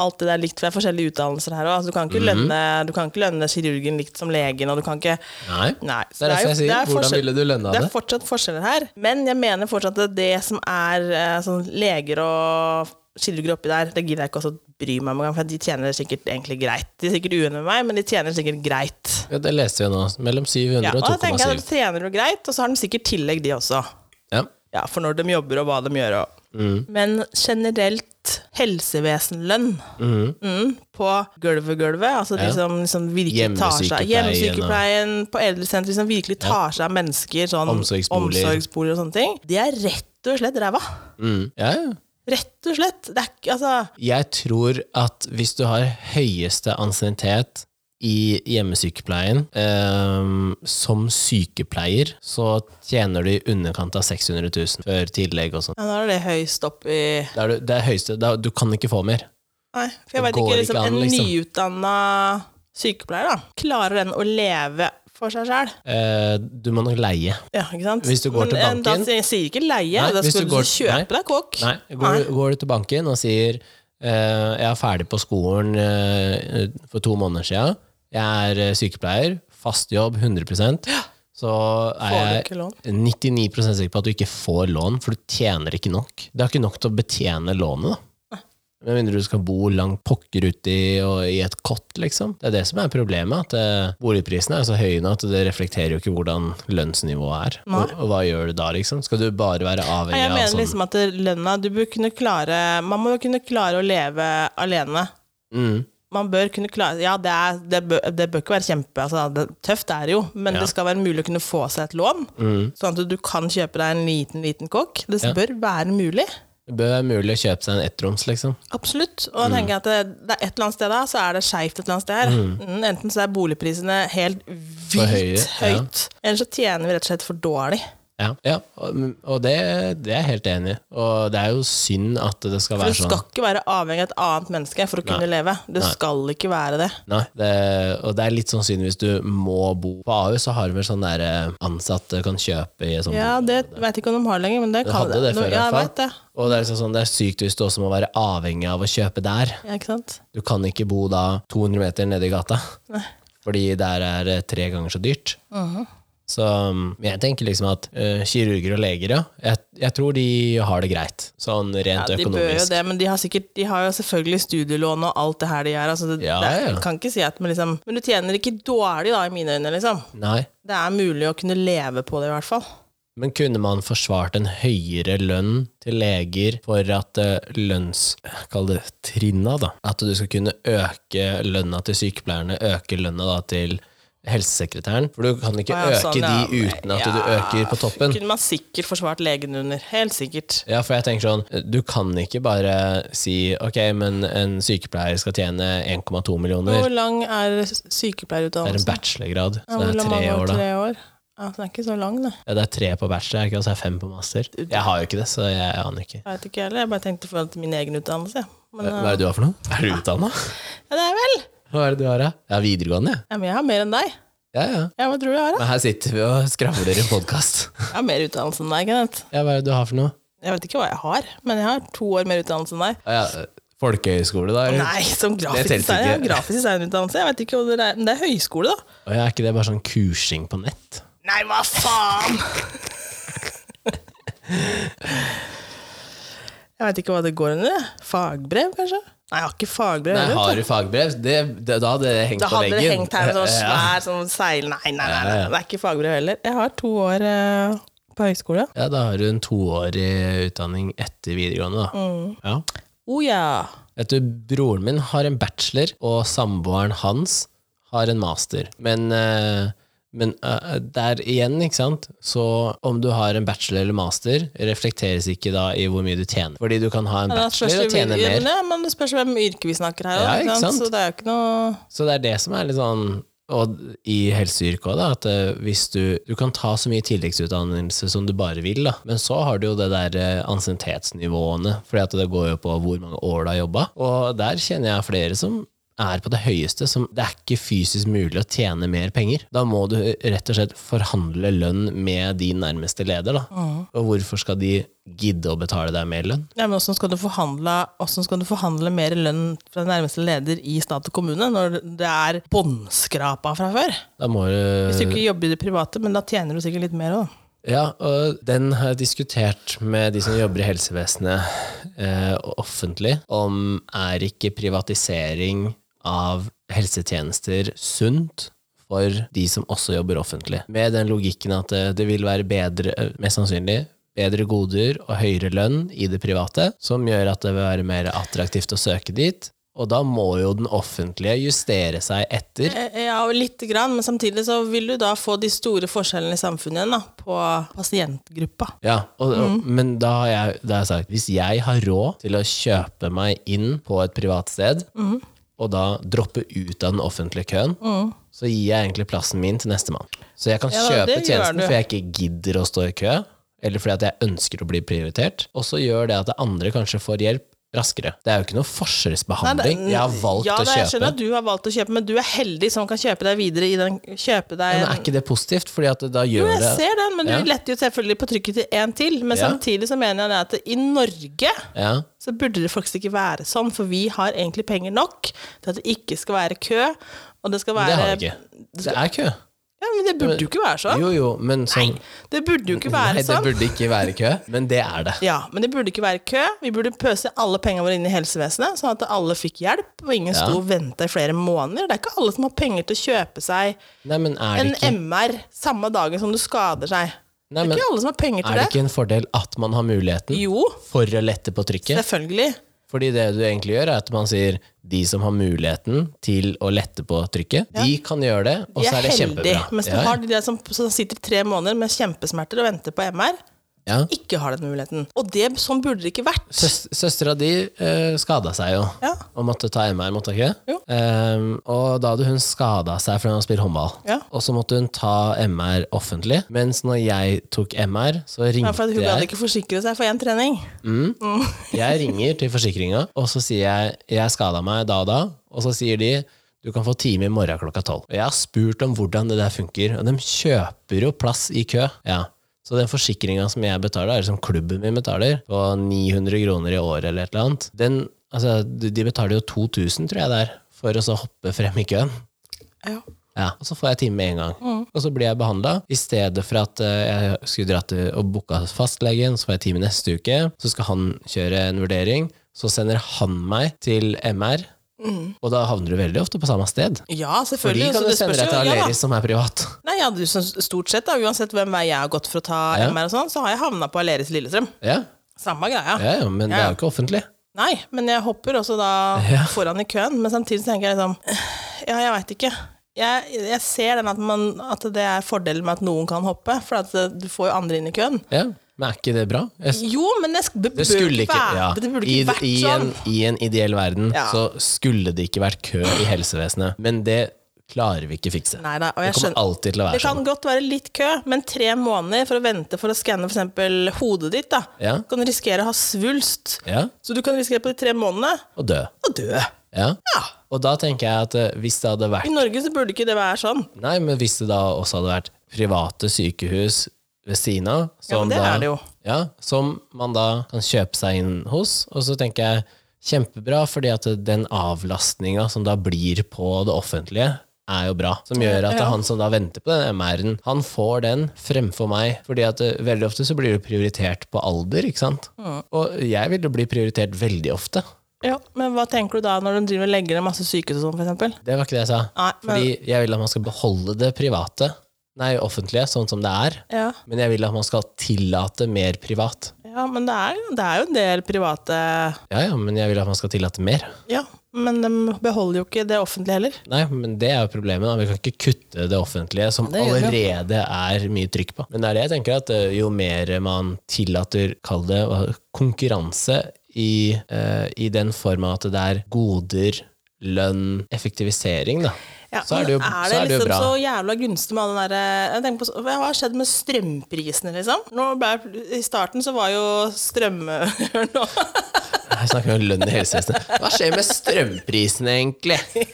S2: alt det der likt, for det er forskjellige utdannelser her òg. Altså, du, kan ikke lønne- du kan ikke lønne kirurgen likt som legen, og du kan ikke
S1: Nei.
S2: Nei.
S1: Det er derfor jeg sier, hvordan
S2: forskjell-
S1: ville du lønna
S2: Det
S1: det?
S2: er fortsatt forskjeller her, men jeg mener fortsatt at det som er eh, sånn leger og kirurger oppi der, det gidder jeg ikke også bry meg om engang, for de tjener sikkert egentlig greit. De er sikkert uenige med meg, men de tjener sikkert greit.
S1: Ja, det leste vi nå. Mellom 700
S2: Ja, og
S1: og
S2: da tenker jeg at
S1: 2,7.
S2: da trener du greit, og så har de sikkert tillegg, de også.
S1: Ja.
S2: Ja, for når de jobber, og hva de gjør. Og.
S1: Mm.
S2: Men generelt helsevesenlønn mm, på gulvet-gulvet, altså de
S1: Ja.
S2: som liksom virkelig tar seg Hjemmesykepleien,
S1: Hjemmesykepleien
S2: på eldresenteret, de som virkelig tar seg av mennesker, sånn
S1: Omsorgsboliger.
S2: omsorgsboliger og sånne ting, de er rett og slett ræva.
S1: Mm. ja, ja.
S2: Rett og slett. Det er ikke Altså,
S1: Jeg tror at hvis du har høyeste ansiennitet i hjemmesykepleien ehm, som sykepleier, så tjener du i underkant av 600 000 før tillegg og sånn.
S2: ja, nå er det høyst opp i
S1: Det er, du- det er høyeste, det er, du kan ikke få mer.
S2: Nei, for
S1: Det
S2: jeg veit
S1: går
S2: ikke.
S1: ikke
S2: Liksom,
S1: an, liksom.
S2: En nyutdanna sykepleier, da, klarer den å leve for seg sjæl?
S1: Eh, du må nok leie.
S2: Ja, ikke sant?
S1: Hvis du går til
S2: Men, eh,
S1: banken-
S2: Da sier- sier ikke leie,
S1: Nei,
S2: da
S1: hvis
S2: skal
S1: du
S2: du,
S1: går-
S2: kjøpe deg kåk.
S1: Nei, går, du- går du til banken og sier eh, jeg er ferdig på skolen eh, for to måneder siden, jeg er eh, sykepleier, fast jobb 100 så er
S2: Får du
S1: jeg
S2: ikke lån?
S1: 99 sikker på at du ikke får lån, for du tjener ikke nok. Det er ikke nok til å betjene lånet, da. Med mindre du skal bo langt pokker uti og i et kott, liksom. Det er det som er problemet, at eh, boligprisene er så høye nå at det reflekterer jo ikke hvordan lønnsnivået er. Og, og hva gjør du da, liksom? Skal du bare være
S2: Nei,
S1: avhengig
S2: jeg
S1: av
S2: mener
S1: sånn
S2: liksom at det- lønna du bør kunne klare, Man må jo kunne klare å leve alene.
S1: mm.
S2: Man bør kunne klare Ja, det, er, det, bør, det bør ikke være kjempe altså, det, Tøft er det jo, men det skal være mulig å kunne få seg et lån.
S1: Mm.
S2: Sånn at du kan kjøpe deg en liten, liten kokk. Det bør være mulig.
S1: Det bør være mulig å kjøpe seg en ettroms, liksom.
S2: Absolutt. Og jeg tenker at det, det er et eller annet sted da, så er det skeivt et eller annet sted her. Mm, enten så er boligprisene helt
S1: For
S2: vilt
S1: høye, ja.
S2: høyt, eller så tjener vi rett og slett for dårlig.
S1: Ja, ja. Og, og det, det er jeg helt enig i. Og det er jo synd at det skal
S2: For
S1: være
S2: du
S1: sånn.
S2: skal ikke være avhengig av et annet menneske for å kunne leve. Du skal ikke være det.
S1: Nei, det, og det er litt sånn synd hvis du må bo på AU, så har de vel sånn der eh, ansatte kan kjøpe i sånn
S2: Ja, det veit ikke om de har lenger, men det kan
S1: hadde det før, i hvert
S2: ja, jeg
S1: fall.
S2: vet det.
S1: Og det er, liksom sånn, det er sykt hvis du også må være avhengig av å kjøpe der.
S2: Ja, ikke sant?
S1: Du kan ikke bo da 200 meter nede i gata,
S2: Nei. Uh-huh.
S1: fordi der er det tre ganger så dyrt. Så um, jeg tenker liksom at eh, kirurger og leger, ja, jeg, jeg tror de har det greit, sånn
S2: Ja,
S1: rent
S2: de bør jo
S1: økonomisk.
S2: det, men de har, sikkert, de har jo selvfølgelig studielån og alt det her de gjør. Altså, det,
S1: Ja,
S2: det,
S1: ja.
S2: jeg kan ikke si at men, liksom, men du tjener ikke dårlig, da, i mine øyne, liksom.
S1: Nei.
S2: Det er mulig å kunne leve på det, i hvert fall.
S1: Men kunne man forsvart en høyere lønn til leger for at eh, lønns... Kall det trinna, da. At du skal kunne øke lønna til sykepleierne, øke lønna da til helsesekretæren. For du kan ikke
S2: Å, ja,
S1: øke
S2: sånn, ja.
S1: de uten at du
S2: Ja,
S1: øker på toppen.
S2: Kunne man sikkert forsvart legen under. Helt sikkert.
S1: Ja, for jeg tenker sånn, du kan ikke bare si ok, men en sykepleier skal tjene 1,2 millioner.
S2: Hvor lang er
S1: Det er en
S2: sykepleierutdannelsen?
S1: bachelorgrad,
S2: Ja,
S1: så det er
S2: hvor
S1: tre
S2: mange
S1: år, da.
S2: Tre år? Ja, så den er ikke så lang, det.
S1: Ja, det er tre på bachelor, er det ikke? og så er det fem på master. Jeg har jo ikke det, så jeg aner ikke.
S2: Jeg vet ikke heller. Jeg bare tenkte i forhold til min egen utdannelse. Men
S1: Hva
S2: eh,
S1: er det du har for noe? Er du utdanna?
S2: ja, det er vel!
S1: Hva er det du har, da? Jeg har videregående, jeg.
S2: Ja, men jeg har mer enn deg.
S1: Ja, ja.
S2: Ja, Hva tror du jeg har? da?
S1: Men her sitter vi og skravler i podkast.
S2: Jeg har mer utdannelse enn deg. Kenneth.
S1: Ja, hva er det du har for noe?
S2: Jeg vet ikke hva jeg har, men jeg har to år mer utdannelse enn deg.
S1: Ah, ja, folkehøyskole, da? eller?
S2: Nei, som grafisk
S1: Det telte
S2: designer. Jeg har
S1: ikke.
S2: grafisk designerutdannelse. Jeg vet ikke hva det er. Men det er høyskole, da.
S1: Å ja, er ikke det bare sånn kursing på nett?
S2: Nei, hva faen! jeg veit ikke hva det går under. jeg. Fagbrev, kanskje? Nei, jeg har ikke fagbrev.
S1: Nei,
S2: heller, vet
S1: har du fagbrev? Det, det, da hadde det
S2: du.
S1: hengt
S2: da
S1: på
S2: hadde
S1: veggen.
S2: det hengt her en sånn
S1: Ja.
S2: svær sånn seil... Nei, nei, nei, nei,
S1: Ja, ja.
S2: det er ikke fagbrev heller. Jeg har to år eh, på høyskole.
S1: Ja, da har du en toårig utdanning etter videregående, da.
S2: Mm.
S1: Ja.
S2: Å Oh, ja.
S1: Vet du, broren min har en bachelor, og samboeren hans har en master. Men eh, Men eh, der igjen, ikke sant, så om du har en bachelor eller master, reflekteres ikke da i hvor mye du tjener. Fordi du kan ha en
S2: Men det spørs
S1: bachelor og
S2: jo
S1: tjene
S2: hvil-
S1: mer.
S2: Ja, men det spørs hvem yrke vi snakker her.
S1: Ja,
S2: også,
S1: ikke
S2: ikke sant?
S1: sant?
S2: Så det er jo ikke noe
S1: Så det er det som er litt sånn og i helseyrket òg, da, at eh, hvis du Du kan ta så mye tilleggsutdannelse som du bare vil, da, men så har du jo det der eh, ansiennitetsnivåene, fordi at det går jo på hvor mange år du har jobba, og der kjenner jeg flere som er på det høyeste, som det er ikke fysisk mulig å tjene mer penger. Da må du eh, rett og slett forhandle lønn med din nærmeste leder, da. Og hvorfor skal de gidde å betale deg mer lønn?
S2: Ja, men hvordan skal, du forhandle, hvordan skal du forhandle mer lønn fra nærmeste leder i stat og kommune når det er båndskrapa fra før?
S1: Da må du
S2: Hvis du ikke jobber i det private, men da tjener du sikkert litt mer òg.
S1: Ja, og den har jeg diskutert med de som jobber i helsevesenet eh, og offentlig, om er ikke privatisering av helsetjenester sunt for de som også jobber offentlig. Med den logikken at eh, det vil være bedre, eh, mest sannsynlig, bedre goder og høyere lønn i det private, som gjør at det vil være mer attraktivt å søke dit. Og da må jo den offentlige justere seg etter.
S2: Eh, Ja, og lite grann, men samtidig så vil du da få de store forskjellene i samfunnet igjen da, på pasientgruppa.
S1: Ja, og,
S2: Mm.
S1: og, men da har, jeg, da har jeg sagt Hvis jeg har råd til å kjøpe meg inn på et privat sted,
S2: Mm.
S1: og da droppe ut av den offentlige køen, så gir jeg egentlig plassen min til nestemann. Så jeg kan
S2: Ja,
S1: kjøpe
S2: det gjør
S1: tjenesten
S2: du.
S1: for jeg ikke gidder å stå i kø, eller fordi at jeg ønsker å bli prioritert. Og så gjør det at det andre kanskje får hjelp raskere. Det er jo ikke noe
S2: Nei,
S1: forskjellsbehandling.
S2: det-
S1: Jeg har valgt
S2: ja,
S1: å
S2: da, Jeg
S1: kjøpe.
S2: skjønner at du har valgt å kjøpe, men du er heldig som kan kjøpe deg videre i den kjøpe deg
S1: Men er ikke det positivt? Fordi at da gjør
S2: Jo, jeg
S1: det
S2: ser den, men du
S1: Ja.
S2: letter jo selvfølgelig på trykket til én til. Men
S1: Ja.
S2: samtidig så mener jeg det at i Norge
S1: ja.
S2: så burde det faktisk ikke være sånn, for vi har egentlig penger nok til at det ikke skal være kø. Og det skal
S1: Det
S2: være
S1: har vi ikke. Det er kø.
S2: Ja, men det burde jo ikke være sånn.
S1: Jo, jo, men sånn
S2: Det burde jo ikke
S1: Nei,
S2: være
S1: det
S2: sånn.
S1: burde ikke være kø, men det er det.
S2: Ja, men det burde ikke være kø. Vi burde pøse alle pengene våre inn i helsevesenet, sånn at alle fikk hjelp, og ingen
S1: Ja.
S2: sto og venta i flere måneder. Det er ikke alle som har penger til å kjøpe seg
S1: Nei, men er
S2: en
S1: det ikke,
S2: MR samme dagen som du skader seg.
S1: nei,
S2: Det
S1: men,
S2: er ikke alle som har penger
S1: er
S2: til
S1: det
S2: det.
S1: ikke en fordel at man har muligheten
S2: Jo,
S1: for å lette på trykket?
S2: selvfølgelig.
S1: Fordi det du egentlig gjør, er at man sier de som har muligheten til å lette på trykket, de kan gjøre det, og
S2: De
S1: så
S2: er,
S1: er det
S2: heldige.
S1: kjempebra.
S2: Mens du
S1: Ja,
S2: har de der som, som sitter i tre måneder med kjempesmerter og venter på MR,
S1: ja.
S2: ikke har den muligheten. Og det, sånn burde det ikke vært.
S1: Søs- Søstera di uh, skada seg jo,
S2: Ja.
S1: og måtte ta MR, måtte hun ikke? det?
S2: Jo.
S1: Ehm, og da hadde hun skada seg fordi hun spilte håndball.
S2: Ja.
S1: Og så måtte hun ta MR offentlig, mens når jeg tok MR, så
S2: Ja,
S1: ringte
S2: for at hun
S1: jeg
S2: gadd ikke forsikre seg for én trening.
S1: Jeg ringer til forsikringa, og så sier jeg jeg skada meg da og da. Og så sier de du kan få time i morgen klokka tolv. Og jeg har spurt om hvordan det der funker, og de kjøper jo plass i kø. Ja. Så den forsikringa som jeg betaler, eller som klubben min betaler, på 900 kroner i året eller et eller annet, den, altså, de de betaler jo 2000, tror jeg det er, for å så hoppe frem i køen.
S2: Ja. Mm.
S1: Ja, og så får jeg time med en gang. Og så blir jeg behandla. I stedet for at eh, jeg skulle dratt til og booka hos fastlegen, så får jeg time neste uke. Så skal han kjøre en vurdering. Så sender han meg til MR, og da havner du veldig ofte på samme sted. For
S2: Ja,
S1: de
S2: Mm. selvfølgelig.
S1: kan
S2: så
S1: du
S2: det
S1: sende
S2: spørs
S1: deg
S2: jo-
S1: til
S2: ja, da.
S1: Aleris, som er privat.
S2: Nei, ja, du, så stort sett, da, uansett hvem vei jeg har gått for å ta
S1: Ja.
S2: MR og sånn, så har jeg havna på Aleris Lillestrøm.
S1: Ja,
S2: Samme greia.
S1: ja, ja men det er jo ikke offentlig.
S2: Nei, men jeg hopper også da
S1: Ja.
S2: foran i køen. Men samtidig så tenker jeg liksom Ja, jeg veit ikke. Jeg, jeg ser den at, man, at det er fordelen med at noen kan hoppe, for at eh, du får jo andre inn i køen.
S1: Ja, men er ikke det bra? Jeg,
S2: Jo, men det, sk-
S1: det
S2: det, burde
S1: skulle
S2: ikke
S1: ikke,
S2: være,
S1: ja.
S2: det burde
S1: I,
S2: ikke vært
S1: i, en,
S2: sånn.
S1: I en ideell verden
S2: Ja.
S1: så skulle det ikke vært kø i helsevesenet, men det klarer vi ikke fikse.
S2: Nei da, og
S1: Det
S2: jeg
S1: kommer
S2: skjønner
S1: alltid til å
S2: Det
S1: være sånn.
S2: kan godt være litt kø, men tre måneder for å vente for å skanne f.eks. hodet ditt, da,
S1: Ja.
S2: kan du risikere å ha svulst.
S1: Ja,
S2: Så du kan risikere på de tre månedene
S1: og dø.
S2: å dø.
S1: Ja.
S2: Ja.
S1: Og da tenker jeg at eh, hvis det hadde
S2: I
S1: vært
S2: Norge så burde ikke det være sånn.
S1: Nei, men hvis det da også hadde vært private sykehus ved siden av
S2: Ja,
S1: som
S2: men det
S1: da-
S2: er det jo.
S1: Ja, som man da kan kjøpe seg inn hos, og så tenker jeg kjempebra, fordi at den avlastninga som da blir på det offentlige, er jo bra. Som gjør at
S2: Ja.
S1: han som da venter på den MR-en, han får den fremfor meg. Fordi at eh, veldig ofte så blir du prioritert på alder, ikke sant?
S2: Mm.
S1: Og jeg vil jo bli prioritert veldig ofte.
S2: Ja, Men hva tenker du da når de driver og legger ned masse sykehus og sånn, for eksempel?
S1: Det var ikke det jeg sa.
S2: Nei, men-
S1: Fordi jeg vil at man skal beholde det private, nei, offentlige, sånn som det er.
S2: Ja,
S1: Men jeg vil at man skal tillate mer privat.
S2: ja men det er, det er jo en del private
S1: Ja, ja, men jeg vil at man skal tillate mer.
S2: Ja, Men de beholder jo ikke det offentlige heller.
S1: Nei, men det er jo problemet. da. Vi kan ikke kutte det offentlige, som
S2: Det gjør vi.
S1: allerede er mye trykk på. Men det er det jeg tenker, at eh, jo mer man tillater, kall det hva- konkurranse, i, eh, i den form at det er goder, lønn, effektivisering, da.
S2: Ja,
S1: så er det jo,
S2: men
S1: så er det jo
S2: liksom
S1: bra.
S2: så jævla gunstig med all den derre jeg tenker på så- Hva har skjedd med strømprisene, liksom? Nå ble, I starten så var jo strøm nå.
S1: Jeg snakker om lønn i helsevesenet. Hva skjer med strømprisene, egentlig?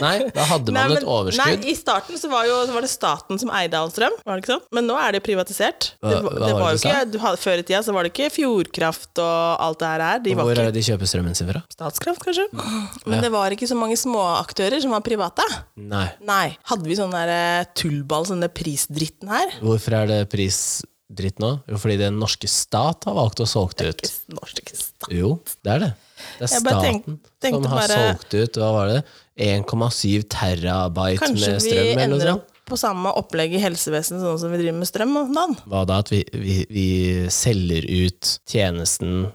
S1: Nei, da hadde man
S2: Nei, men-
S1: et overskudd.
S2: Nei, I starten så var, jo, så var det staten som eide all strøm, var det ikke sånn? Men nå er det jo privatisert.
S1: Hva- hva
S2: det, var-
S1: var
S2: det
S1: det
S2: var jo
S1: du sa?
S2: ikke, du hadde, Før i tida så var det ikke Fjordkraft og alt det her her. De var
S1: Hvor
S2: ikke
S1: er det Mm. de kjøper strømmen sin fra?
S2: Statskraft, kanskje? Men det var ikke så mange småaktører som var private.
S1: Nei.
S2: Nei. Hadde vi sånn der eh, tullball, sånn der prisdritten her?
S1: Hvorfor er det prisdritt nå? Jo, fordi den norske stat har valgt å solge det ut.
S2: Norsk stat.
S1: Jo, det er det. Det er
S2: Jeg bare
S1: staten
S2: tenk- tenkte
S1: som har
S2: bare-
S1: solgt ut hva var det? 1,7 terabyte
S2: Kanskje
S1: med
S2: vi
S1: strøm eller noe
S2: ender
S1: sånt?
S2: opp på samme opplegg i helsevesenet sånn som vi driver med strøm om dagen?
S1: Hva da? At vi, vi, vi selger ut tjenesten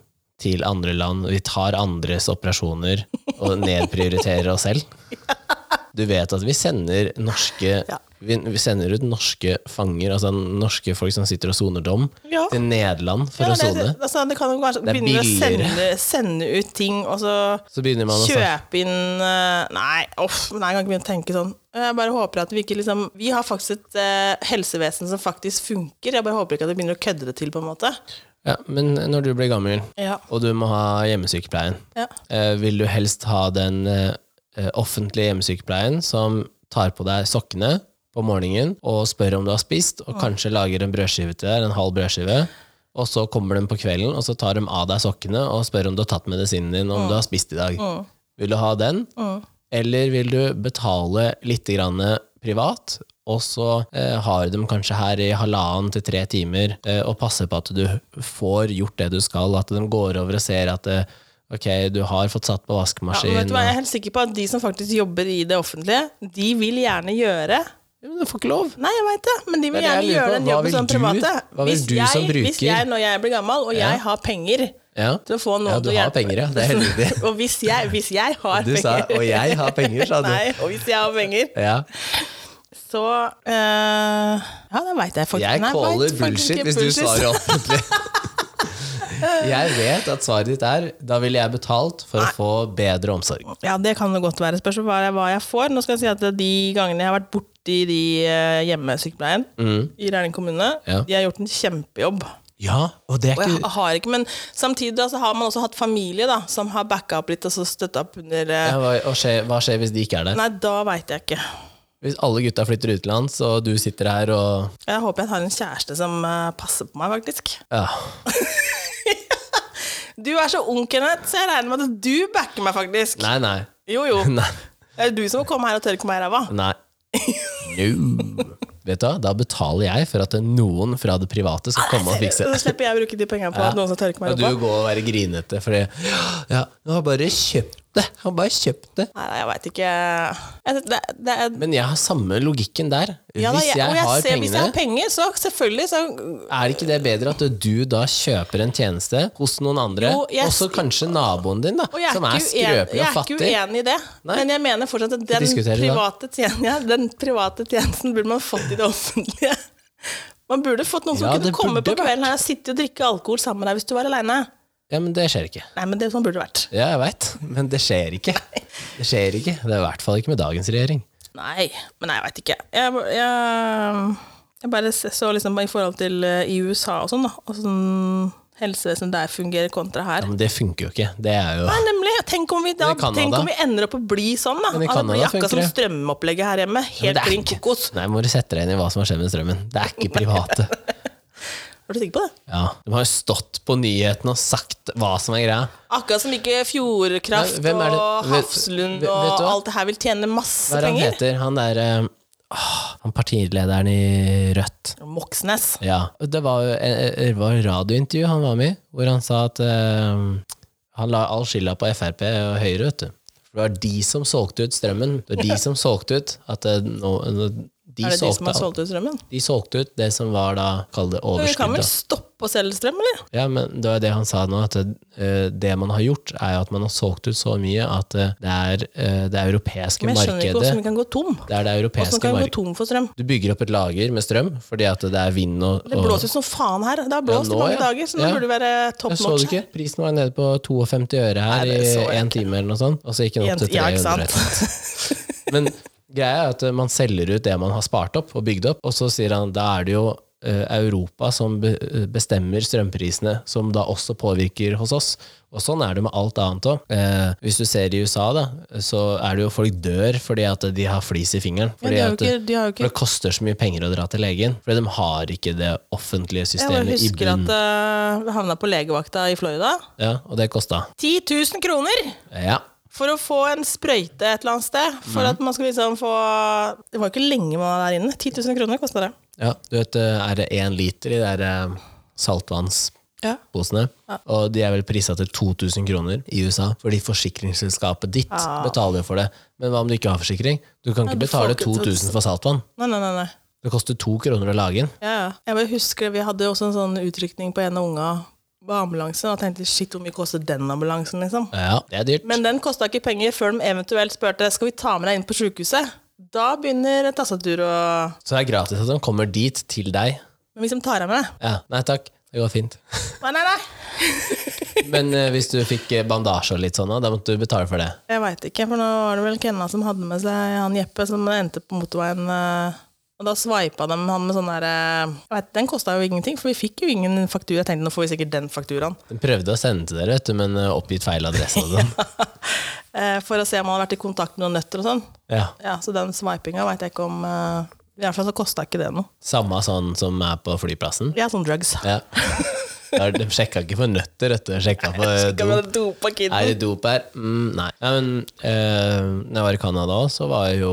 S1: til andre land, og vi tar andres operasjoner og nedprioriterer oss selv? Du vet at vi sender norske
S2: Ja.
S1: vi, vi sender ut norske fanger, altså norske folk som sitter og soner dom,
S2: Ja.
S1: til Nederland for
S2: Ja,
S1: å sone.
S2: det, altså, det kan jo kanskje
S1: Det er
S2: begynne å
S1: billigere.
S2: sende, sende ut ting, og så
S1: Så begynner man å snakke
S2: kjøpe inn eh, Nei, uff, nei, jeg kan ikke begynne å tenke sånn. Jeg bare håper at vi ikke liksom Vi har faktisk et eh, helsevesen som faktisk funker. Jeg bare håper ikke at vi begynner å kødde det til, på en måte.
S1: ja, Men når du blir gammel,
S2: Ja.
S1: og du må ha hjemmesykepleien,
S2: ja.
S1: Eh, vil du helst ha den eh, eh, offentlige hjemmesykepleien som tar på deg sokkene på morgenen og spør om du har spist, og kanskje lager en brødskive til deg, en halv brødskive, og så kommer de på kvelden, og så tar de av deg sokkene og spør om du har tatt medisinen din, om du har spist i dag. Vil du ha den, eller vil du betale litt grann privat, og så eh, har de kanskje her i halvannen til tre timer eh, og passer på at du får gjort det du skal, at de går over og ser at eh, ok, du har fått satt på
S2: Ja, men vet
S1: vaskemaskinen.
S2: du hva, jeg
S1: og-
S2: er helt sikker på at de som faktisk jobber i det offentlige, de vil gjerne gjøre
S1: Ja, men du får ikke lov.
S2: Nei, jeg veit det, men de
S1: Det
S2: vil
S1: er
S2: gjerne
S1: det jeg lurer
S2: gjøre
S1: på.
S2: den
S1: Hva
S2: jobben
S1: vil
S2: som
S1: du-
S2: private.
S1: hva vil du som
S2: jeg, hvis
S1: bruker?
S2: jeg når jeg blir gammel, og jeg har penger
S1: Ja,
S2: til å få noe
S1: ja du
S2: til å
S1: har
S2: hjelpe-
S1: penger, ja. Det er heldig.
S2: og hvis jeg, hvis jeg har
S1: Du sa
S2: penger
S1: 'og jeg har penger', sa du.
S2: Nei, og hvis jeg har penger,
S1: Ja.
S2: så eh, Ja, det veit jeg faktisk
S1: Jeg
S2: Nei, jeg
S1: caller
S2: vet faktisk
S1: bullshit
S2: ikke
S1: hvis du
S2: bullshit.
S1: svarer offentlig. Jeg vet at svaret ditt er 'da ville jeg betalt for å få bedre omsorg'.
S2: Ja, det kan det godt være. Spørs hva jeg, hva jeg får. Nå skal jeg si at de gangene jeg har vært borti de eh, hjemmesykepleien i Rælingen kommune,
S1: Mm. Ja.
S2: de har gjort en kjempejobb.
S1: Ja, og det er
S2: Og
S1: ikke
S2: jeg har ikke, men samtidig da, så har man også hatt familie da, som har backa opp litt og så støtta opp under eh,
S1: Ja, hva, og skje, hva skjer hvis de ikke er der?
S2: Nei, da veit jeg ikke.
S1: Hvis alle gutta flytter utenlands, og du sitter her og
S2: Jeg håper jeg har en kjæreste som eh, passer på meg, faktisk.
S1: ja.
S2: Du er så ung, Kenneth, så jeg regner med at du backer meg, faktisk.
S1: Nei, nei.
S2: Jo, jo.
S1: Nei.
S2: Det er du som må komme her og tørke meg i ræva.
S1: nei. No. Vet du hva, da betaler jeg for at noen fra det private skal komme og fikse
S2: Så slipper jeg å bruke de pengene på at noen skal tørke meg i
S1: Og du
S2: ræva.
S1: går og være grinete fordi Ja, han har bare kjøpt det. Han har bare kjøpt det.
S2: Nei, nei, jeg veit ikke jeg, det, det, er-
S1: Men jeg har samme logikken der.
S2: ja, da,
S1: hvis jeg,
S2: og jeg
S1: har
S2: ser, Hvis
S1: pengene,
S2: jeg har penger, så selvfølgelig så
S1: er det ikke det bedre at du da kjøper en tjeneste hos noen andre,
S2: Jo, jeg-
S1: og så kanskje naboen din, da,
S2: og jeg er,
S1: som er
S2: ikke uen-
S1: skrøpelig
S2: jeg
S1: og
S2: er ikke
S1: fattig?
S2: uenig i det,
S1: Nei.
S2: men jeg mener fortsatt at den
S1: diskuterer det da.
S2: private, tjen ja, den private tjenesten burde man fått i det offentlige. Man burde fått noen som
S1: Ja,
S2: kunne
S1: det
S2: komme på
S1: burde vært.
S2: kvelden her og sitte og drikke alkohol sammen med deg hvis du var aleine.
S1: Ja, men det skjer ikke.
S2: Nei, men det sånn burde det vært.
S1: Ja, jeg veit, men det skjer ikke. Det skjer ikke. Det er i hvert fall ikke med dagens regjering.
S2: Nei, men nei, jeg veit ikke. Jeg, jeg, jeg bare s- så liksom i forhold til eh, i USA og sånn, da. Og sånn helsevesenet der fungerer kontra her.
S1: Ja, men det funker jo ikke. Det er jo
S2: Nei, nemlig. Tenk om vi, da,
S1: Men i Canada-
S2: tenk om vi ender opp å bli sånn, da.
S1: Men i
S2: At det blir
S1: Canada
S2: akkurat
S1: funker
S2: som
S1: det.
S2: strømopplegget her hjemme.
S1: Men
S2: Helt
S1: det er
S2: klin
S1: ikke-
S2: kokos.
S1: Nei, må du sette deg inn i hva som har skjedd med strømmen. Det er ikke private.
S2: Er du sikker på det?
S1: Ja, De har jo stått på nyhetene og sagt hva som er greia.
S2: Akkurat som ikke Fjordkraft
S1: Nei, hvem er det-
S2: og
S1: vet-
S2: Hafslund
S1: vet- vet
S2: og
S1: du hva?
S2: alt det her vil tjene masse
S1: Hva er det han
S2: penger.
S1: heter? Han derre Han partilederen i Rødt.
S2: Moxnes.
S1: Ja. Det var jo eh, det var et radiointervju han var med i, hvor han sa at eh, han la all skylda på Frp og Høyre, vet du. For det var de som solgte ut strømmen. Det var de som solgte ut at eh, nå, nå- De
S2: er det de
S1: solgte
S2: som har
S1: alt.
S2: solgt ut strømmen?
S1: De solgte ut det som var da, kall det
S2: Men Vi kan vel
S1: overskuddet.
S2: stoppe å selge strøm, eller?
S1: Ja, men det var det han sa nå, at eh, det man har gjort, er jo at man har solgt ut så mye at eh, det er eh, det europeiske
S2: Men jeg skjønner ikke
S1: markedet
S2: hvordan vi kan gå tom.
S1: Det er det
S2: Hvordan
S1: europeiske
S2: kan vi gå
S1: markedet.
S2: tom for strøm?
S1: Du bygger opp et lager med strøm fordi at det er vind og,
S2: Det
S1: og
S2: blåser jo som faen her. Det har blåst
S1: Ja, nå,
S2: i mange
S1: ja.
S2: dager, så nå
S1: Ja.
S2: burde det være top
S1: Jeg så det
S2: notch.
S1: ikke. Prisen var nede på 52 øre her
S2: Nei, det så
S1: i
S2: jeg
S1: én time, eller noe sånt. Og så gikk den opp til
S2: Ja, ikke
S1: 300. eller noe. Men greia er at eh, man selger ut det man har spart opp og bygd opp, og så sier han da er det jo eh, Europa som be- eh, bestemmer strømprisene, som da også påvirker hos oss. Og sånn er det med alt annet òg. Eh, hvis du ser i USA, da, så er det jo folk dør fordi at de har flis i fingeren.
S2: Ja,
S1: Fordi
S2: de har jo
S1: at,
S2: ikke- de har jo
S1: for
S2: ikke
S1: det koster så mye penger å dra til legen. Fordi de har ikke det offentlige
S2: Jeg
S1: systemet
S2: bare
S1: i
S2: husker at
S1: bunnen.
S2: eh, vi havna på legevakta i Florida.
S1: Ja, og det kosta.
S2: 10 000 kroner
S1: Ja.
S2: for å få en sprøyte et eller annet sted. For at man skulle liksom få Det var jo ikke lenge man var der inne. 10 000 kroner kosta det.
S1: Ja, du vet, eh, er det én liter i de der eh, saltvannsposene?
S2: Ja.
S1: Og de er vel prisa til 2000 kroner i USA, fordi forsikringsselskapet ditt
S2: Ah.
S1: betaler jo for det. Men hva om du ikke har forsikring? Du kan
S2: Ja,
S1: ikke
S2: du får
S1: betale
S2: ikke
S1: 2000 for saltvann.
S2: Nei, nei, nei. nei.
S1: Det koster to kroner å lage den.
S2: Ja, ja. Jeg bare husker det, Vi hadde jo også en sånn utrykning på en av unga på ambulansen. Og jeg tenkte shit, hvor mye koster den ambulansen, liksom?
S1: Ja, det er dyrt.
S2: Men den kosta ikke penger før de eventuelt spurte skal vi ta med deg inn på sjukehuset. Da begynner tastatur å
S1: Så det er gratis at de kommer dit, til deg.
S2: Men liksom tar jeg med deg.
S1: Ja, nei takk, det går fint.
S2: Nei, nei, nei.
S1: Men eh, hvis du fikk eh, bandasje og litt sånn, da måtte du betale for det.
S2: Jeg veit ikke, for nå var det vel Kenna som hadde med seg han Jeppe, som endte på motorveien. eh, Og da sveipa de han med sånn der eh, jeg vet, Den kosta jo ingenting, for vi fikk jo ingen faktura. Jeg tenkte nå får vi sikkert den fakturaen.
S1: De prøvde å sende til dere, vet du, men eh, oppgitt feil adresse og sånn.
S2: Eh, For å se om han hadde vært i kontakt med noen nøtter og sånn.
S1: Ja.
S2: Ja, Så den sveipinga veit jeg ikke om eh, I hvert fall så kosta ikke det noe.
S1: Samme sånn som er på flyplassen.
S2: Vi er sånn drugs.
S1: Ja. Da- De sjekka ikke for nøtter, vet du. De Sjekka for eh,
S2: Kan
S1: dop.
S2: man dopa kiden?
S1: Er det dop her? Mm, nei. nei men eh, når jeg var i Canada òg, så var jo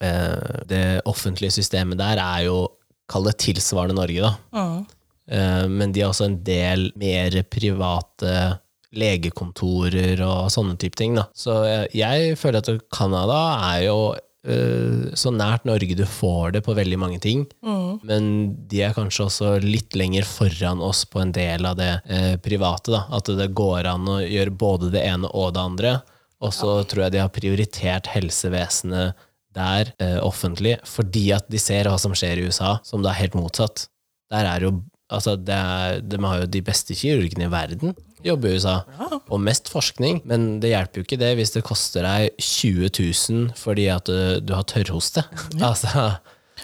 S1: eh, Det offentlige systemet der er jo Kall det tilsvarende Norge, da.
S2: Mm.
S1: Eh, men de har også en del mer private legekontorer og sånne type ting. Da. Så jeg, jeg føler at Canada er jo eh, så nært Norge du får det på veldig mange ting. Men de er kanskje også litt lenger foran oss på en del av det eh, private. Da. At det går an å gjøre både det ene og det andre. Og så tror jeg de har prioritert helsevesenet der eh, offentlig, fordi at de ser hva som skjer i USA, som da er helt motsatt. Der er jo Altså, det er, de har jo de beste kirurgene i verden, jobber i USA, og mest forskning. Men det hjelper jo ikke det hvis det koster deg 20 000 fordi at du, du har tørrhoste. altså,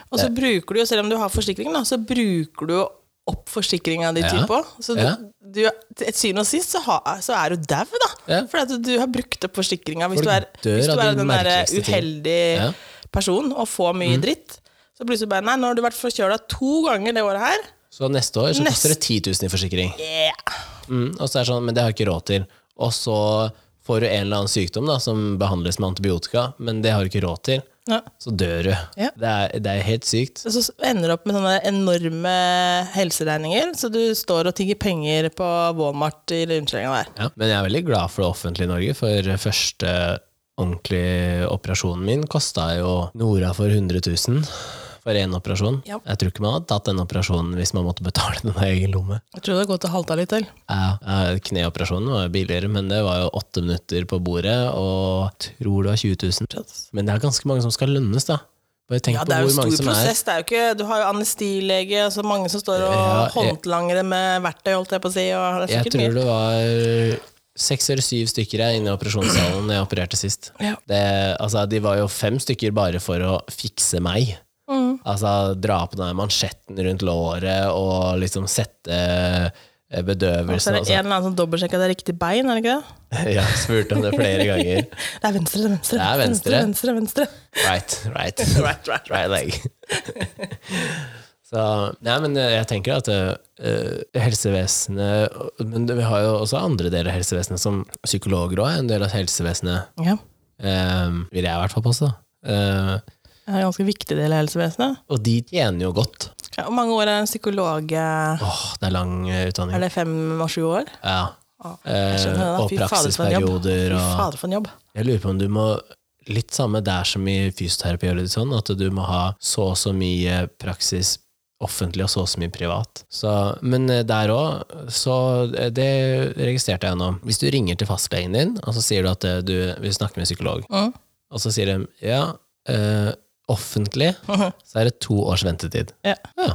S2: Og så bruker du jo, selv om du har forsikring, da, så bruker du jo opp forsikringa di
S1: Ja.
S2: typ òg. Så du,
S1: Ja.
S2: du, til syvende og sist så, ha, så er du dau, da.
S1: Ja.
S2: For at du har brukt opp forsikringa. Hvis,
S1: Folk
S2: du er-
S1: dør
S2: hvis du
S1: av
S2: er
S1: de
S2: den derre
S1: merkeligste ting.
S2: uheldige
S1: Ja. Mm.
S2: personen og får mye dritt, så plutselig bare Nei, nå har du vært forkjøla to ganger det året her.
S1: så neste år så
S2: Nest-
S1: koster det 10 000 i forsikring.
S2: Yeah.
S1: Mm, og så er det sånn, men det har jeg ikke råd til. Og så får du en eller annen sykdom da, som behandles med antibiotika, men det har du ikke råd til.
S2: Ja.
S1: Så dør du.
S2: Ja.
S1: Det, er, det er helt sykt.
S2: Så så ender du opp med sånne enorme helseregninger, så du står og tigger penger på Walmart i rundkjøringa der.
S1: Ja, men jeg er veldig glad for det offentlige Norge, for første ordentlige operasjonen min kosta jo Nora for 100 000 for én operasjon.
S2: Ja.
S1: Jeg tror ikke man hadde tatt den operasjonen hvis man måtte betale den av egen lomme.
S2: Jeg tror det har gått og halta litt til.
S1: Ja, ja, Kneoperasjonen var jo billigere, men det var jo åtte minutter på bordet, og tror det var 20 000. Men det er ganske mange som skal lønnes, da. Bare tenk
S2: Ja,
S1: på
S2: det er jo
S1: hvor
S2: en
S1: mange
S2: stor
S1: som er
S2: prosess. Det er jo ikke, du har jo anestilege, og så mange som står og
S1: Ja, jeg-
S2: håndlangere med verktøy, holdt jeg på å si. Og det er
S1: Jeg
S2: sikkert mye.
S1: tror det var seks eller syv stykker jeg inne i operasjonssalen da jeg opererte sist.
S2: Ja.
S1: Det, altså, de var jo fem stykker bare for å fikse meg.
S2: Mm.
S1: Altså dra på den der mansjetten rundt låret og liksom sette eh,
S2: Og Så
S1: bedøvelsen
S2: er Altså, det
S1: og
S2: en
S1: sånn.
S2: eller annen som dobbeltsjekker at det er riktig bein, er det ikke det?
S1: Jeg har spurt om det flere ganger.
S2: Det er venstre, det er venstre,
S1: Det er
S2: venstre, venstre, venstre.
S1: Right, right.
S2: Right, right,
S1: right leg. Så, nei, men jeg tenker at eh, helsevesenet Men vi har jo også andre deler av helsevesenet, som psykologer òg er en del av helsevesenet.
S2: Ja.
S1: Um, vil jeg i hvert fall påstå. Eh,
S2: Det er en ganske viktig del av helsevesenet.
S1: og de tjener jo godt.
S2: Ja, Hvor mange år er en psykolog? eh,
S1: Åh, det er lang eh, utdanning.
S2: Er det fem og sju år?
S1: Ja.
S2: Jeg skjønner det, da.
S1: Eh, og
S2: Fy fader, for en jobb.
S1: praksisperioder
S2: Fy
S1: og
S2: fader, for en jobb.
S1: Jeg lurer på om du må litt samme der som i fysioterapi, og litt sånn, at du må ha så og så mye praksis offentlig og så og så mye privat. Så, men eh, der òg, så eh, det registrerte jeg nå. Hvis du ringer til fastlegen din, og så sier du at eh, du vil snakke med psykolog,
S2: Mm.
S1: og så sier de ja, eh, offentlig, så er det to års ventetid.
S2: Ja.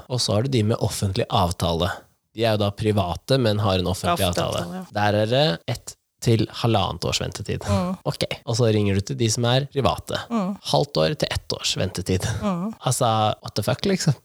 S1: Og så har du de med offentlig avtale. De er jo da private, men har en offentlig
S2: Offentlig
S1: avtale.
S2: avtale,
S1: Der er det ett til halvannet års ventetid. Ok, Og så ringer du til de som er private. Halvt år til ett års ventetid. Altså, what the fuck, liksom.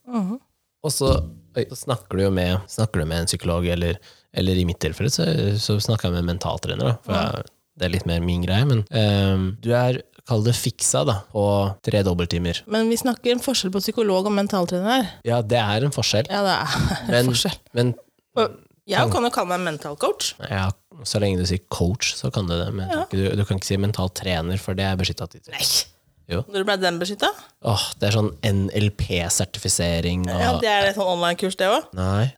S1: Og så, oi, så snakker du jo med, snakker du med en psykolog, eller, eller i mitt tilfelle så, så snakker jeg med en mentaltrener, da, for jeg, det er litt mer min greie. Men ehm, du er, kall det fiksa, da, på tre dobbelttimer.
S2: Men vi snakker en forskjell på psykolog og mentaltrener.
S1: Ja, det er en forskjell,
S2: Ja, det er en
S1: men,
S2: forskjell.
S1: men
S2: Og Jeg kan jo kalle meg mentalcoach.
S1: ja, så lenge du sier coach, så kan du det. Men jeg tror ikke du, du kan ikke si mental trener, for det er beskytta tittel.
S2: Nei.
S1: Jo.
S2: Når ble den beskytta?
S1: Åh, det er sånn NLP-sertifisering og
S2: Ja, det er et sånn online-kurs, det òg.
S1: Nei,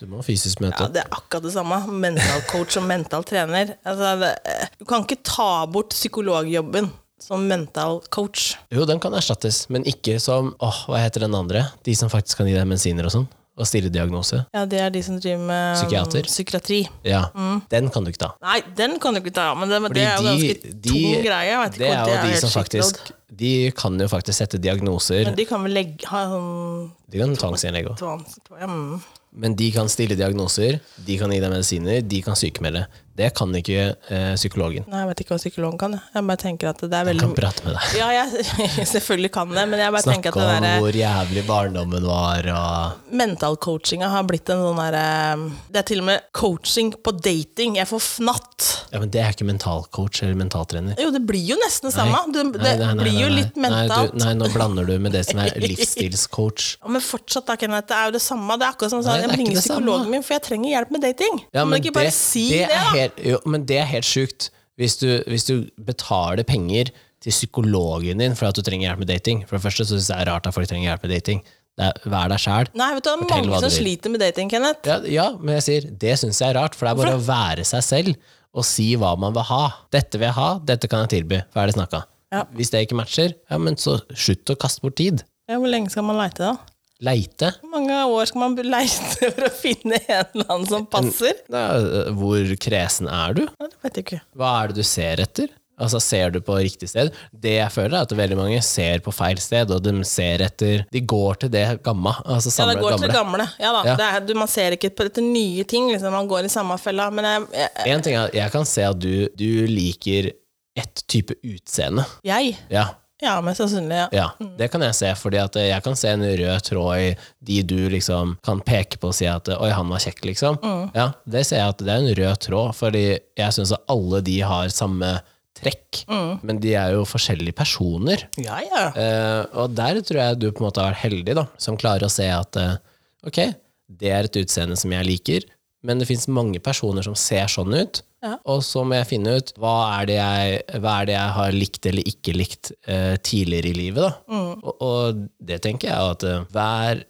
S1: du må fysisk møte
S2: Ja,
S1: opp.
S2: det er akkurat det samme. Mentalcoach og mentaltrener. Altså, det, eh, du kan ikke ta bort psykologjobben som mentalcoach.
S1: Jo, den kan erstattes, men ikke som åh, hva heter den andre? De som faktisk kan gi deg medisiner og sånn, og stille diagnose.
S2: Ja, det er de som driver med um,
S1: Psykiater.
S2: psykiatri.
S1: Ja, den kan du ikke ta.
S2: Nei, den kan du ikke ta, men det, Mm. det er jo ganske tung greie. Jeg vet ikke
S1: det
S2: om
S1: er jo de
S2: helt
S1: som
S2: skikkelig.
S1: faktisk De kan jo faktisk sette diagnoser.
S2: Men de kan vel legge, ha sånn
S1: De kan tvangsinnlegge òg.
S2: tvans... Ja, mm.
S1: Men de kan stille diagnoser, de kan gi deg medisiner, de kan sykemelde. Det kan ikke eh, psykologen.
S2: Nei, jeg vet ikke hva psykologen kan. jeg. Jeg bare tenker at det er
S1: Han kan
S2: veldig
S1: prate med deg.
S2: Ja, jeg, selvfølgelig kan det, men jeg bare
S1: Snakke
S2: tenker at
S1: om
S2: det der
S1: hvor jævlig barndommen var og
S2: mentalcoachinga har blitt en sånn derre Det er til og med coaching på dating. Jeg får fnatt.
S1: Ja, men det er ikke mentalcoach eller mentaltrener.
S2: Jo, det blir jo nesten det samme. Du, det blir jo litt mentalt.
S1: Nei, du, nei, nå blander du med det som er livsstilscoach.
S2: Ja, men fortsatt, da, Kenneth. Det er jo det samme. Det er akkurat
S1: Nei,
S2: som
S1: det
S2: sånn,
S1: er
S2: jeg
S1: ikke
S2: ringer
S1: det samme.
S2: psykologen min, for jeg trenger hjelp med dating.
S1: Ja,
S2: Kan du ikke bare si det,
S1: er
S2: da?
S1: helt, jo, men det er helt sjukt. Hvis du, hvis du betaler penger til psykologen din for at du trenger hjelp med dating For det første så syns jeg det er rart at folk trenger hjelp med dating. Det er, vær deg sjæl.
S2: Nei, vet du, det er
S1: Fortell hva
S2: mange
S1: du
S2: som
S1: vil.
S2: sliter med dating, Kenneth.
S1: Ja, ja, men jeg sier det syns jeg er rart, for det er bare å være seg selv og si hva man vil ha. Dette vil jeg ha, dette kan jeg tilby. Ferdig snakka.
S2: Ja.
S1: Hvis det ikke matcher, ja, men så slutt å kaste bort tid.
S2: Ja, hvor lenge skal man leite, da?
S1: Leite.
S2: Hvor mange år skal man leite for å finne en eller annen som passer?
S1: Ja, eh, hvor kresen er du?
S2: Nei, det vet jeg ikke.
S1: Hva er det du ser etter? Altså, Ser du på riktig sted? Det jeg føler, er at veldig mange ser på feil sted, og de ser etter De går til det gamma. Altså
S2: Ja,
S1: samler
S2: det går
S1: gamle.
S2: til det gamle. Ja, da.
S1: Ja.
S2: Det er, du, man ser ikke på- etter nye ting, liksom. man går i samme fella. Men jeg, jeg,
S1: En ting er at jeg kan se at du, du liker ett type utseende.
S2: jeg
S1: Ja,
S2: Ja, mest sannsynlig. Ja.
S1: ja, det kan jeg se, fordi at eh, jeg kan se en rød tråd i de du liksom kan peke på og si at 'oi, han var kjekk', liksom. Ja, det ser jeg at det er en rød tråd, fordi jeg syns at alle de har samme trekk, men de er jo forskjellige personer.
S2: Ja, ja.
S1: Eh, og der tror jeg du på en måte har vært heldig, da, som klarer å se at eh, ok, det er et utseende som jeg liker, men det fins mange personer som ser sånn ut.
S2: Ja.
S1: Og så må jeg finne ut hva er det jeg, hva er det jeg har likt eller ikke likt eh, tidligere i livet. Da.
S2: Mm.
S1: Og, og det tenker jeg at eh, hver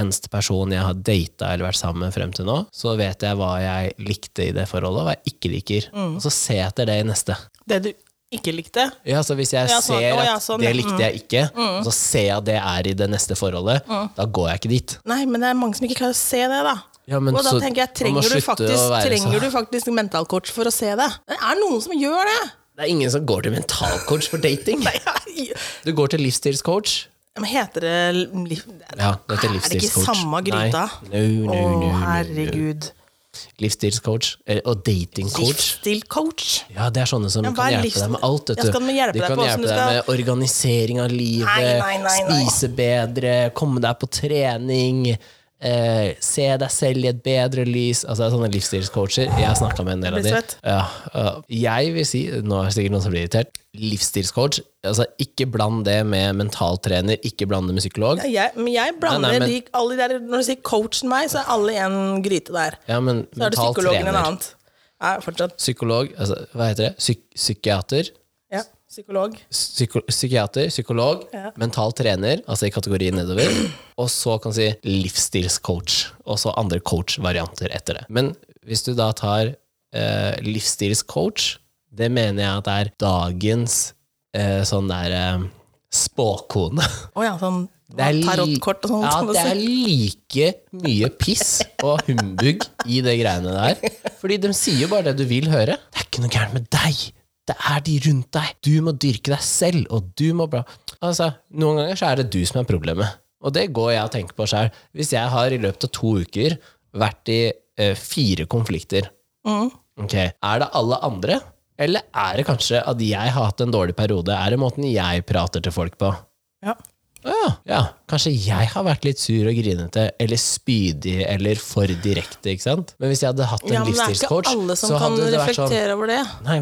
S1: eneste person jeg har data eller vært sammen med frem til nå, så vet jeg hva jeg likte i det forholdet, og hva jeg ikke liker.
S2: Mm.
S1: Og så ser jeg etter det i neste.
S2: Det du ikke likte?
S1: Ja, så Hvis jeg
S2: Ja, sånn.
S1: ser
S2: Å,
S1: at
S2: ja, sånn,
S1: det
S2: ja. Mm.
S1: likte jeg ikke, og så ser jeg at det er i det neste forholdet, da går jeg ikke dit.
S2: Nei, men det er mange som ikke klarer å se det, da.
S1: Ja, men
S2: og da
S1: så-
S2: tenker jeg,
S1: man må
S2: trenger, du
S1: slutte å
S2: faktisk,
S1: være
S2: trenger
S1: så-
S2: du faktisk mentalcoach for å se det? Det er noen som gjør det!
S1: Det er ingen som går til mentalcoach for dating.
S2: Nei,
S1: Du går til livsstilscoach.
S2: Men heter det liv...
S1: Ja, det heter
S2: Er det ikke
S1: livsstilscoach.
S2: samme gryta?
S1: Nei. No,
S2: Å,
S1: no, no, no, no.
S2: herregud.
S1: Livsstilscoach eh, og datingcoach.
S2: Livsstil-coach?
S1: Ja, det er sånne som
S2: hva
S1: kan
S2: er
S1: hjelpe deg med
S2: livsstil-
S1: alt. Vet
S2: Ja,
S1: du.
S2: skal de hjelpe
S1: de
S2: deg
S1: kan
S2: på hvordan
S1: hjelpe
S2: du
S1: deg
S2: skal-
S1: med organisering av livet,
S2: Nei, nei, nei, nei.
S1: spise bedre, komme deg på trening, eh, se deg selv i et bedre lys. Altså, det er sånne livsstilscoacher. Jeg har snakka med en del av
S2: Jeg
S1: de.
S2: blir svett.
S1: Ja, ja. jeg vil si, nå er det sikkert noen som blir irritert, livsstilscoach. Altså, ikke bland det med mentaltrener, ikke bland det med psykolog.
S2: Ja, jeg, men jeg blander
S1: Nei, nei, men-
S2: de, alle de der Når du sier coachen meg, så er alle i en gryte der.
S1: Ja, men
S2: Så er det psykologen en
S1: mentaltrener.
S2: annet. Ja, fortsatt.
S1: Psykolog, altså, hva heter det? Psyk psykiater.
S2: Ja, psykolog.
S1: psyko psykiater, psykolog,
S2: Ja.
S1: mental trener, altså i kategorien nedover, og så kan du si livsstilscoach, og så andre coach-varianter etter det. Men hvis du da tar eh, livsstilscoach, det mener jeg at er dagens eh, sånn der eh, spåkone.
S2: Å ja, sånn
S1: Det er li-
S2: tarotkort og sånt.
S1: Ja,
S2: som du
S1: det er
S2: sier.
S1: like mye piss og humbug i det greiene der. Fordi de sier jo bare det du vil høre. Det er ikke noe gærent med deg. Det er de rundt deg. Du må dyrke deg selv, og du må bla Altså, noen ganger så er det du som er problemet. Og det går jeg og tenker på sjøl. Hvis jeg har i løpet av to uker vært i eh, fire konflikter,
S2: Mm.
S1: Ok, Er det alle andre, eller er det kanskje at jeg har hatt en dårlig periode? Er det måten jeg prater til folk på?
S2: Ja.
S1: Å Ja, ja, kanskje jeg har vært litt sur og grinete, eller spydig, eller for direkte, ikke sant? Men hvis jeg hadde hatt en
S2: ja, men det er ikke
S1: livsstilscoach,
S2: alle som
S1: så
S2: kan
S1: hadde det vært sånn
S2: reflektere over det.
S1: Nei,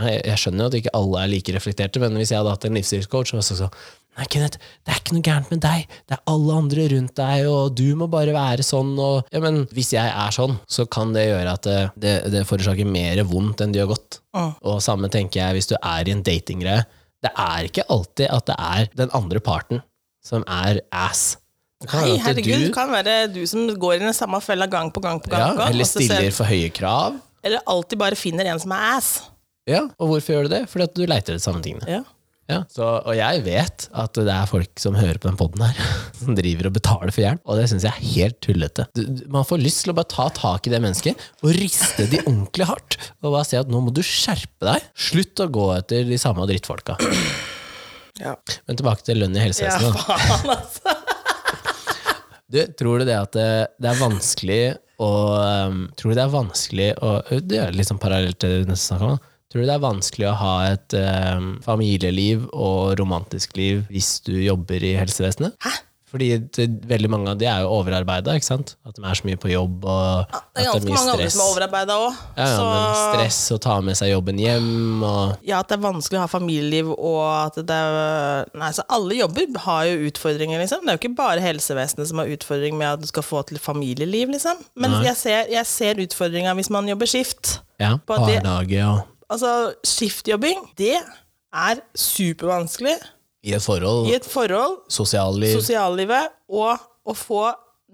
S1: nei, jeg skjønner jo at ikke alle er like reflekterte, men hvis jeg hadde hatt en livsstilscoach, så hadde jeg sagt sånn Nei, Kenneth, det er ikke noe gærent med deg. Det er alle andre rundt deg, og du må bare være sånn. Og, ja, men hvis jeg er sånn, så kan det gjøre at det, det, det forårsaker mer vondt enn det gjør godt.
S2: Mm.
S1: Og samme tenker jeg hvis du er i en datinggreie. Det er ikke alltid at det er den andre parten som er ass. Det kan
S2: Nei,
S1: være at
S2: herregud, det
S1: du-
S2: kan være du som går i den samme fella gang på gang på gang.
S1: ja,
S2: på gang
S1: eller
S2: og så ser-
S1: stiller for høye krav.
S2: eller alltid bare finner en som er ass.
S1: Ja, og hvorfor gjør du det? Fordi at du leiter etter samme tingene.
S2: Ja.
S1: Ja. Så, og jeg vet at det er folk som hører på den poden her, som driver og betaler for hjelp, og det syns jeg er helt tullete. Du, du- man får lyst til å bare ta tak i det mennesket og riste de ordentlig hardt, og bare si at nå må du skjerpe deg. Slutt å gå etter de samme drittfolka.
S2: Ja.
S1: Men tilbake til lønn i helsevesenet. da.
S2: faen, altså.
S1: Du, tror du det at det, det er vanskelig å um, Tror du det er vanskelig å Det er litt sånn parallelt til det neste snakk om. da. Tror du det er vanskelig å ha et um, familieliv og romantisk liv hvis du jobber i helsevesenet?
S2: Hæ?
S1: Fordi det, veldig mange av de er jo overarbeida, ikke sant? At de er så mye på jobb, og at
S2: Det er ganske mange andre som er overarbeida òg.
S1: Ja, ja, men stress å ta med seg jobben hjem og
S2: ja, at det er vanskelig å ha familieliv og at det er Nei, så alle jobber har jo utfordringer, liksom. Det er jo ikke bare helsevesenet som har utfordring med at du skal få til familieliv, liksom. Men jeg ser, jeg ser utfordringa hvis man jobber skift.
S1: ja,
S2: På det-
S1: barnehage og
S2: Altså, skiftjobbing, det er supervanskelig
S1: i et forhold,
S2: i et forhold,
S1: sosialliv
S2: sosiallivet, og å få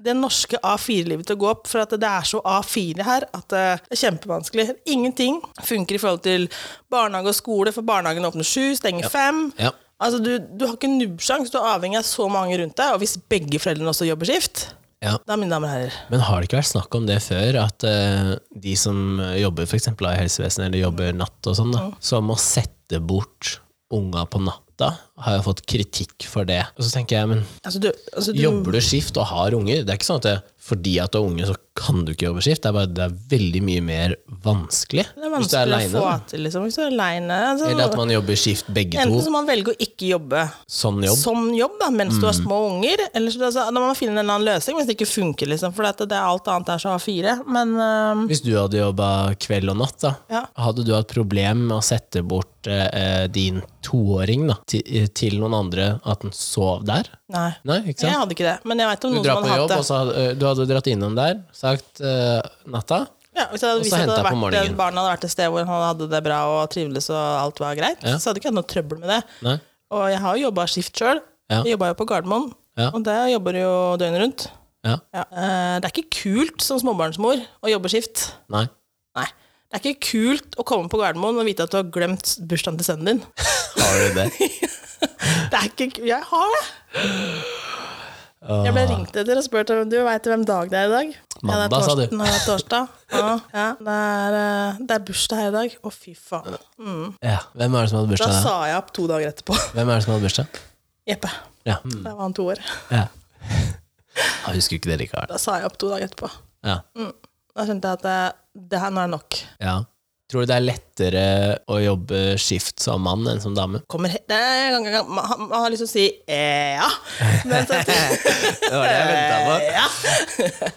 S2: det norske A4-livet til å gå opp, for at det er så A4 her at det er kjempevanskelig. Ingenting funker i forhold til barnehage og skole, for barnehagen åpner sju, stenger fem.
S1: Ja.
S2: Altså, du, du har ikke nubbsjans, du er avhengig av så mange rundt deg, og hvis begge foreldrene også jobber skift,
S1: Ja.
S2: da, mine damer og herrer
S1: Men har det ikke vært snakk om det før, at eh, de som jobber for eksempel, i helsevesenet, eller jobber natt og sånn, da, som må sette bort unga på natta, har jo fått kritikk for det. Og så tenker jeg, men
S2: altså, du, altså, du,
S1: jobber du skift og har unger, det er ikke sånn at det, fordi at du har unger, så kan du ikke jobbe skift. Det er bare det er veldig mye mer vanskelig,
S2: Det er
S1: hvis du er
S2: vanskelig
S1: aleine.
S2: å få til, liksom, hvis du er aleine.
S1: Eller at
S2: Altså,
S1: man jobber skift begge
S2: enten
S1: to.
S2: så må man velge å ikke jobbe,
S1: Sånn jobb. Mm.
S2: som jobb da, mens du har små unger. Eller så, altså, da må man finne en annen løsning hvis det ikke funker. Liksom, for at det, er alt annet er så A4. Men ehm, øhm,
S1: Hvis du hadde jobba kveld og natt, da,
S2: Ja.
S1: hadde du hatt problem med å sette bort eh, eh, din toåring da, til, eh, til noen andre, at den sov der?
S2: nei.
S1: Nei, ikke
S2: Jeg
S1: sant?
S2: hadde ikke det. Men jeg vet om
S1: Du
S2: noen
S1: drar
S2: som
S1: på
S2: hadde
S1: jobb,
S2: hatt
S1: og
S2: det.
S1: så hadde, eh, du hadde dratt innom der, sagt eh, natta.
S2: Ja, hvis jeg hadde visst at det
S1: hentet
S2: hadde
S1: på
S2: vært,
S1: morgenen.
S2: barna hadde vært et sted hvor han hadde det bra og trivdes og alt var greit,
S1: Ja.
S2: så hadde jeg ikke hatt noe trøbbel med det.
S1: Nei.
S2: Og jeg har jo jobba skift sjøl.
S1: Ja.
S2: Jeg jobba jo på Gardermoen,
S1: Ja.
S2: og der jobber du jo døgnet rundt.
S1: Ja.
S2: Ja. Eh, det er ikke kult som småbarnsmor å jobbe skift.
S1: Nei.
S2: Nei. Det er ikke kult å komme på Gardermoen og vite at du har glemt bursdagen til sønnen din.
S1: Har du det?
S2: Det er ikke ku- Jeg har det! Jeg ble ringt etter og spurt om du veit hvem dag det er i dag. ja, det
S1: Mandag,
S2: er
S1: sa du.
S2: torsdag, Nei, det er torsdag. Ja, ja. Det, er, eh, det er bursdag her i dag. Å, fy faen.
S1: Ja. Hvem er det som hadde
S2: Da
S1: bursdag? da?
S2: sa jeg opp to dager etterpå.
S1: Hvem er det som hadde bursdag?
S2: Jeppe.
S1: Ja.
S2: Da var han to år.
S1: ja. Jeg husker ikke det likevel.
S2: Da sa jeg opp to dager etterpå.
S1: Ja.
S2: Mm. Da skjønte jeg at det, det her nå er nok.
S1: Ja. Tror du det er lettere å jobbe skift som mann enn som dame?
S2: Kommer he det er gang, gang, gang. Man, man har lyst til å si eh, ja. Men så,
S1: Det var det jeg venta på.
S2: ja.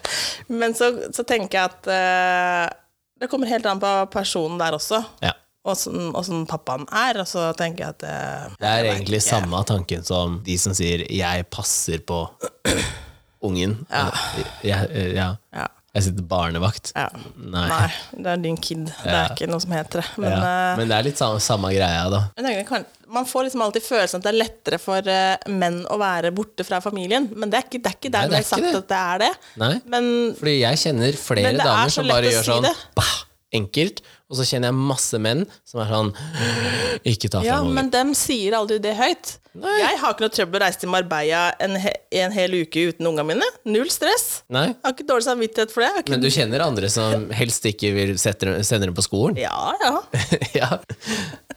S2: Men så, så tenker jeg at eh, det kommer helt an på personen der også.
S1: Ja.
S2: og sånn, og sånn pappaen er, og så tenker jeg at eh,
S1: Det er egentlig samme tanken som de som sier 'jeg passer på ungen'. Ja. Jeg, eh, ja.
S2: ja,
S1: jeg sitter barnevakt.
S2: ja.
S1: Nei.
S2: Nei, det er din kid. Det er ikke noe som heter det. Men,
S1: ja.
S2: eh,
S1: Men det er litt samme, samme greia, da.
S2: jeg tenker, kan, man får liksom alltid følelsen at det er lettere for eh, menn å være borte fra familien, men det er ikke, det er ikke
S1: Nei,
S2: dermed
S1: det er
S2: sagt
S1: ikke det.
S2: at det er det.
S1: Nei?
S2: Men
S1: Fordi jeg kjenner flere
S2: Men det er
S1: damer
S2: så
S1: som
S2: lett
S1: bare
S2: å
S1: gjør
S2: si
S1: sånn
S2: det.
S1: bah, enkelt. Og så kjenner jeg masse menn som er sånn Ikke ta
S3: Ja,
S1: fem
S3: men
S1: unger.
S3: dem sier aldri det høyt.
S2: Jeg har ikke noe trøbbel å reise til Marbella en, he en hel uke uten ungene mine. Null stress.
S1: Nei,
S2: Jeg har ikke dårlig samvittighet for det. Jeg har ikke...
S1: men du kjenner andre som helst ikke vil sette dem, sende dem på skolen?
S2: Ja, ja.
S1: ja.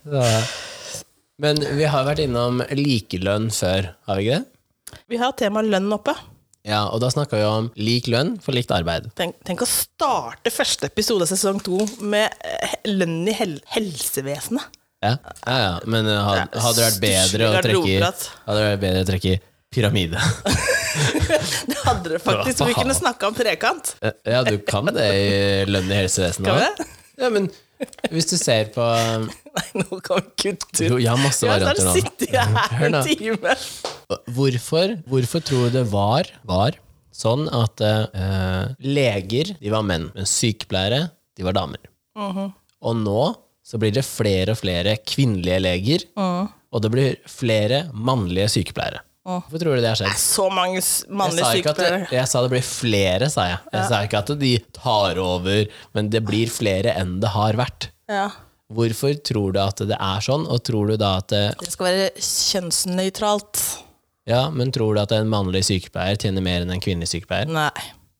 S1: Så- Men vi har vært innom likelønn før, har vi ikke det?
S2: Vi har temaet lønn oppe.
S1: Ja, og da snakka vi om lik lønn for likt arbeid.
S2: Tenk, tenk å starte første episode av sesong to med eh, lønn i hel helsevesenet.
S1: Ja, ja, ja. Men eh, had-
S2: Ja,
S1: hadde det vært bedre å
S2: stusslig
S1: trekke i-
S2: garderoberat.
S1: Hadde det vært bedre å trekke i pyramide?
S2: Det hadde dere faktisk. Vi kunne snakka om trekant.
S1: Eh, Ja, du kan det i lønn i helsevesenet.
S2: Kan vi
S1: også. Ja, men hvis du ser på
S2: Nei, nå kan vi kutte
S1: Jo,
S2: ut.
S1: jeg har masse
S2: Ja, så
S1: varianter nå.
S2: sitter jeg her en
S1: Hør nå.
S2: time.
S1: Hvorfor, hvorfor tror du det var, var sånn at eh, leger de var menn, men sykepleiere de var damer?
S2: Uh-huh.
S1: Og nå så blir det flere og flere kvinnelige leger,
S2: Uh.
S1: og det blir flere mannlige sykepleiere. Hvorfor tror du det har skjedd?
S2: Så mange s-
S1: Jeg
S2: mannlige
S1: sa, ikke at det,
S2: sykepleiere.
S1: jeg sa det blir flere, sa jeg. Jeg sa ikke at de tar over, men det blir flere enn det har vært.
S2: Ja.
S1: Hvorfor tror du at det er sånn, og tror du da at det-
S2: Det skal være kjønnsnøytralt.
S1: Ja, men tror du at en mannlig sykepleier tjener mer enn en kvinnelig sykepleier?
S2: Nei.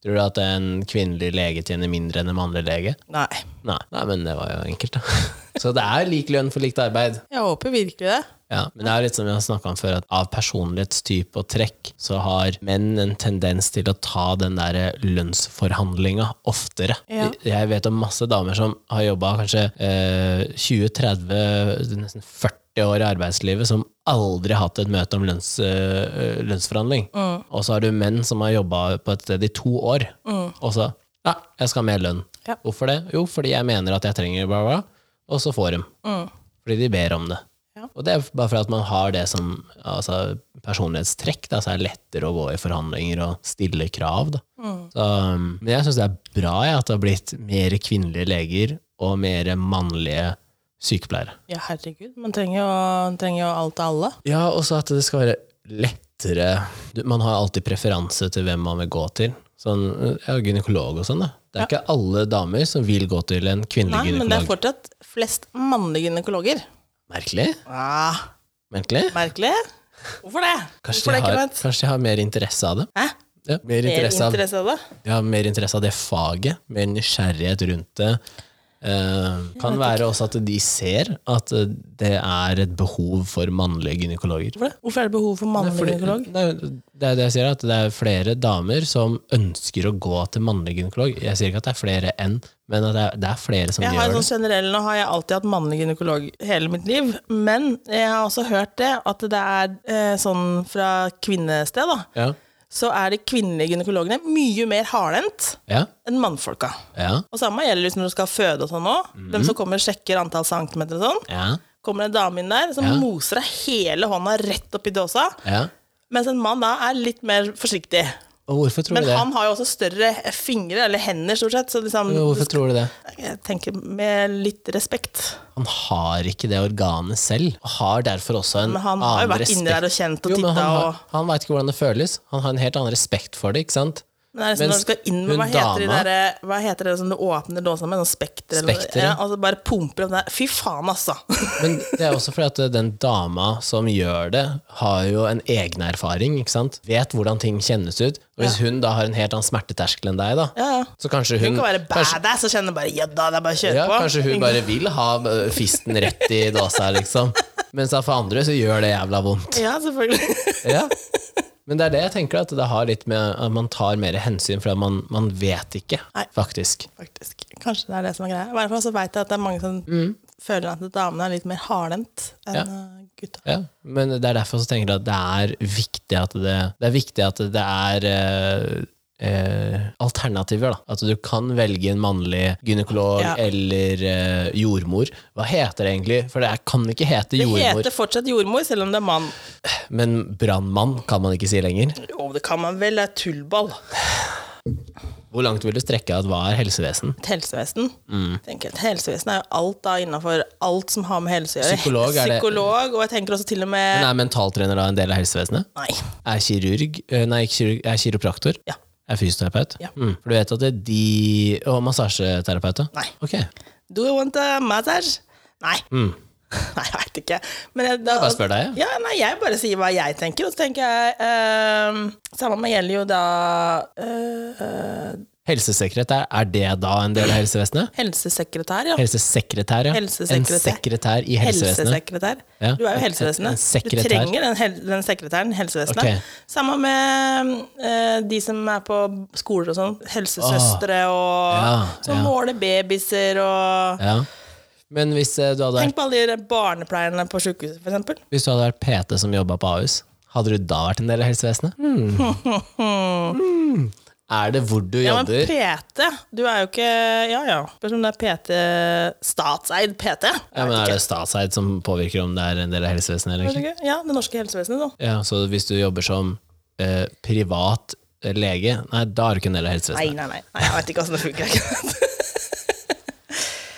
S1: Tror du at en kvinnelig lege tjener mindre enn en mannlig lege?
S2: Nei.
S1: Nei. Nei, men det var jo enkelt, da. Så det er lik lønn for likt arbeid.
S2: Jeg håper virkelig det.
S1: Ja, men det er litt som vi har snakka om før, at av personlighetstype og trekk, så har menn en tendens til å ta den der lønnsforhandlinga oftere.
S3: Ja.
S1: Jeg vet om masse damer som har jobba kanskje eh, 20-30, nesten 40 år i arbeidslivet, som aldri har hatt et møte om lønns, eh, lønnsforhandling.
S3: Mm.
S1: Og så har du menn som har jobba på et sted i to år, og så ja, jeg skal ha mer lønn.
S3: Mm. Ja.
S1: Hvorfor det? Jo, fordi jeg mener at jeg trenger bla, bla, og så får de.
S3: Mm.
S1: Fordi de ber om det.
S3: Ja.
S1: Og det er bare for at man har det som altså, personlighetstrekk, da, så er det lettere å gå i forhandlinger og stille krav. Da.
S2: Mm.
S1: Så, um, men jeg syns det er bra jeg, at det har blitt mer kvinnelige leger og mer mannlige sykepleiere.
S3: Ja, herregud.
S2: Man trenger jo, man trenger jo alt av alle.
S1: Ja, også at det skal være lettere du, Man har alltid preferanse til hvem man vil gå til. Sånn, ja, gynekolog og sånn. Da. Det er ikke alle damer som vil gå til en kvinnelig
S2: Nei, men det er
S1: gynekolog.
S2: fortsatt flest mannlige gynekologer.
S1: Merkelig?
S2: Ah,
S1: Merkelig?
S2: merkelig. Hvorfor det?
S1: Kanskje
S2: Hvorfor
S1: de,
S2: det,
S1: har,
S2: Clement?
S1: kanskje de har mer interesse av det?
S2: Hæ?
S1: Ja, mer
S2: Mer
S1: interesse av
S2: interesse av det?
S1: De har mer interesse av det faget, mer nysgjerrighet rundt det. Eh, kan være også at de ser at eh, det er et behov for mannlige gynekologer.
S2: Hvorfor det? Hvorfor er det behov for
S1: Nei,
S2: mannlig
S1: fordi-
S2: gynekolog?
S1: Nei, det er det jeg sier, at det er flere damer som ønsker å gå til mannlig gynekolog. Jeg sier ikke at det er flere enn, men at det er, det er flere som
S2: Jeg har
S1: gjør
S2: en
S1: det.
S2: sånn generell, Nå har jeg alltid hatt mannlig gynekolog hele mitt liv, men jeg har også hørt det, at det er eh, sånn fra kvinnested, da,
S1: Ja,
S2: så er de kvinnelige gynekologene mye mer hardhendt
S1: ja,
S2: enn mannfolka.
S1: ja,
S2: Og samme gjelder liksom når du skal føde og sånn òg.
S1: Mhm.
S2: De som kommer og sjekker antall centimeter og sånn.
S1: ja,
S2: kommer en dame inn der som
S1: Ja.
S2: moser deg hele hånda rett opp i dåsa,
S1: ja.
S2: mens en mann da er litt mer forsiktig.
S1: Og hvorfor tror
S2: Men
S1: du det?
S2: han har jo også større fingre, eller hender, stort sett, så liksom
S1: Jo, Hvorfor tror du det?
S2: Jeg tenker med litt respekt.
S1: Han har ikke det organet selv, og har derfor også en
S2: Men han har jo
S1: annen
S2: vært inne der og
S1: respekt.
S2: kjent og
S1: Jo, men
S2: titta
S1: han,
S2: og-
S1: har- han veit ikke hvordan det føles. Han har en helt annen respekt for det, ikke sant?
S2: Men det er liksom
S1: Mens
S2: når du skal inn med
S1: hun
S2: Hva heter, de
S1: dama-
S2: der, eh, hva heter det som du åpner dåsa med? Sånn spekter? eller noe?
S1: Spekter,
S2: ja.
S1: ja.
S2: Og så bare pumper den der. Fy faen, altså!
S1: Men det er også fordi at den dama som gjør det, har jo en egen erfaring, ikke sant? Vet hvordan ting kjennes ut. Og hvis hun da har en helt annen smerteterskel enn deg, da,
S2: Ja, ja.
S1: så kanskje
S2: Du
S1: hun
S2: kan være
S1: kanskje,
S2: badass og kjenne bare Ja da, det er bare å kjøre
S1: ja,
S2: på.
S1: kanskje hun bare vil ha eh, fisten rett i dåsa, liksom. Mens da for andre så gjør det jævla vondt.
S2: Ja, selvfølgelig.
S1: Ja. Men det er det jeg tenker, at det har litt med at man tar mer hensyn, for at man, man vet ikke,
S2: Nei.
S1: faktisk.
S2: Faktisk. Kanskje det er det som er greia. I hvert fall så vet jeg at det er mange som føler at damene er litt mer hardhendt
S1: Mm.
S2: enn
S1: Ja.
S2: eh, gutta.
S1: Ja. Men det er derfor så tenker jeg at det er viktig at det, det er, viktig at det er eh, eh, alternativer. Da. At du kan velge en mannlig gynekolog
S2: Ja.
S1: eller eh, jordmor. Hva heter det egentlig? For det er- kan ikke hete
S2: Det
S1: jordmor.
S2: heter fortsatt jordmor, selv om det er mann.
S1: Men brannmann kan man ikke si lenger.
S2: Jo, det kan man vel, det er tullball.
S1: Hvor langt vil du strekke at hva er helsevesen?
S2: Et helsevesen.
S1: Mm.
S2: Tenker jeg, et helsevesen er jo alt da innafor alt som har med helse å gjøre.
S1: Psykolog er det-
S2: Psykolog, og jeg tenker også til og med
S1: Men er mentaltrener da en del av helsevesenet?
S2: Nei.
S1: Er kirurg eh, Nei, ikke kirurg, er kiropraktor?
S2: Ja.
S1: Er fysioterapeut?
S2: Ja.
S1: Mm. For du vet at det er de Og massasjeterapeut, da?
S2: Nei.
S1: Ok.
S2: Do you want a massage? Nei.
S1: Mm.
S2: Nei, jeg veit ikke. Men jeg, da,
S1: Jeg bare spør deg, jeg.
S2: Ja, nei, jeg bare sier hva jeg tenker, og så tenker jeg ehm, Samme med gjelder jo da eh, eh,
S1: Helsesekretær, er det da en del av helsevesenet?
S2: helsesekretær, ja.
S1: Helsesekretær, ja. En
S2: Helsesekretær.
S1: sekretær i helsevesenet.
S2: Helsesekretær.
S1: Ja. En-
S2: Du er jo
S1: en
S2: helsevesenet. Du
S1: sekretær.
S2: trenger den, hel den sekretæren, helsevesenet.
S1: Ok.
S2: Samme med eh, de som er på skoler og sånn. Helsesøstre og
S1: Ja,
S2: Som
S1: ja.
S2: måler babyser og
S1: Ja. Men hvis eh, du hadde vært,
S2: Tenk på alle de barnepleierne på sjukehuset, for eksempel.
S1: hvis du hadde vært PT som jobba på Ahus, hadde du da vært en del av helsevesenet? Mm. Mm. Er det hvor du
S2: Ja, men
S1: jobber?
S2: PT, du er jo ikke Ja ja. Spørs om det er PT Statseid PT.
S1: Ja, men Er det statseid som påvirker om det er en del av helsevesenet eller
S2: Vet
S1: ikke?
S2: ikke. Ja, det norske helsevesenet, da.
S1: Ja, så hvis du jobber som eh, privat eh, lege, nei, da er du ikke en del av
S2: Nei,
S1: helsevesenet.
S2: nei, nei. nei jeg veit ikke åssen det funker.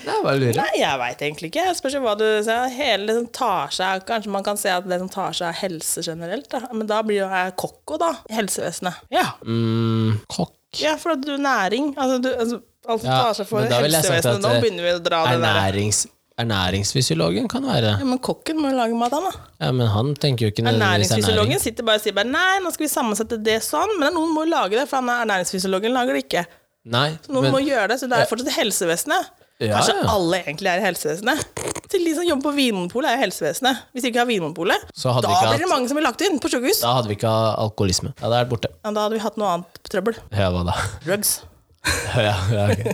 S1: Nei, bare lurer.
S2: Nei, jeg veit egentlig ikke. Jeg spørs jo hva du ser. Hele det som tar seg av- Kanskje man kan se at det som tar seg av helse generelt, da. Men da blir jo jeg kokko, da. I helsevesenet. Ja.
S1: Mm, kokk.
S2: ja, for at du næring. Altså, du, altså alt som
S1: Ja,
S2: tar seg for
S1: men da ville jeg sagt
S2: helsevesenet.
S1: at,
S2: Nå
S1: eh,
S2: begynner vi å dra det der.
S1: Ernærings, ernæringsfysiologen kan være.
S2: Ja, men kokken må jo lage mat, han, da.
S1: Ja, men han tenker jo ikke nødvendigvis ernæring.
S2: Ernæringsfysiologen sitter bare og sier bare, nei, nå skal vi sammensette det sånn, men noen må jo lage det, for han er ernæringsfysiologen lager det ikke.
S1: Nei,
S2: Noen
S1: men,
S2: må gjøre det, så det er fortsatt helsevesenet.
S1: Ja,
S2: Kanskje
S1: ja.
S2: alle egentlig er i helsevesenet. Til de som jobber på Vinmonopolet, er i helsevesenet. Hvis de ikke har Vinmonopolet,
S1: Så hadde
S2: da
S1: vi ikke hatt-
S2: blir det mange som blir lagt inn på sykehus. Da.
S1: da hadde vi ikke hatt alkoholisme. Da hadde jeg vært borte.
S2: Ja, da hadde vi hatt noe annet trøbbel.
S1: Ja, hva da?
S2: Drugs.
S1: Ja, ja, ok.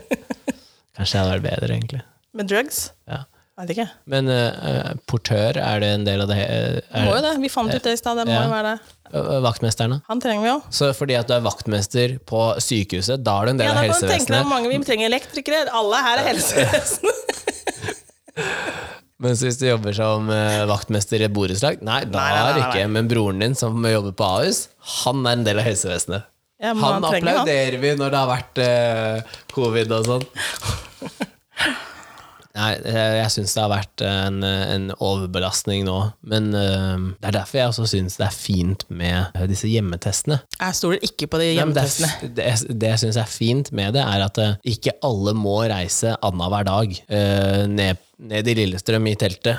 S1: Kanskje jeg hadde vært bedre, egentlig.
S2: Men drugs?
S1: Ja.
S2: Jeg vet ikke.
S1: Men eh, portør, er det en del av det? eh,
S2: Det må
S1: Er,
S2: jo det. Vi fant ut det i stad. Det må
S1: Ja.
S2: jo være det.
S1: vaktmesterne?
S2: Han trenger vi jo.
S1: Så fordi at du er vaktmester på sykehuset, da er du en del
S2: Ja, da
S1: av
S2: kan du tenke deg
S1: helsevesenet?
S2: hvor mange vi trenger elektrikere. Alle her er helsevesenet.
S1: Mens hvis du jobber som eh, vaktmester i et borettslag Nei, da
S2: Nei, nei, nei,
S1: er det
S2: nei,
S1: ikke. Men broren din som jobber på Ahus, han er en del av helsevesenet.
S2: Ja, men
S1: han
S2: han trenger han.
S1: applauderer vi når det har vært eh, covid og sånn. Nei, jeg, jeg syns det har vært en, en overbelastning nå. Men eh, det er derfor jeg også syns det er fint med disse hjemmetestene.
S2: Jeg stoler ikke på de
S1: Nei, men det,
S2: hjemmetestene.
S1: det, det jeg syns er fint med det, er at eh, ikke alle må reise annenhver dag eh, ned, ned i Lillestrøm i teltet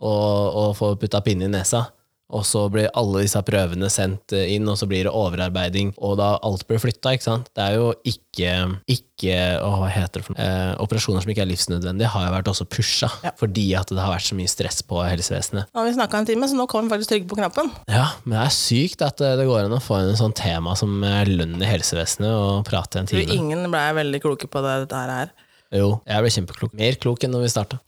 S1: og, og få putta pinne i nesa. Og så blir alle disse prøvene sendt eh, inn, og så blir det overarbeiding, og da alt blir flytta, ikke sant. Det er jo ikke, ikke å, hva heter det for noe? Eh, operasjoner som ikke er livsnødvendige, har jo vært også pusha, fordi at det har vært så mye stress på helsevesenet.
S2: Nå har vi snakka en time, så nå kan vi faktisk trykke på knappen.
S1: Ja, men det er sykt at eh, det går an å få inn en sånn tema som eh, lønn i helsevesenet og prate i en
S2: For
S1: time.
S2: ingen ble veldig kloke på det, dette her.
S1: Jo, jeg ble kjempeklok. Mer klok enn når vi starta.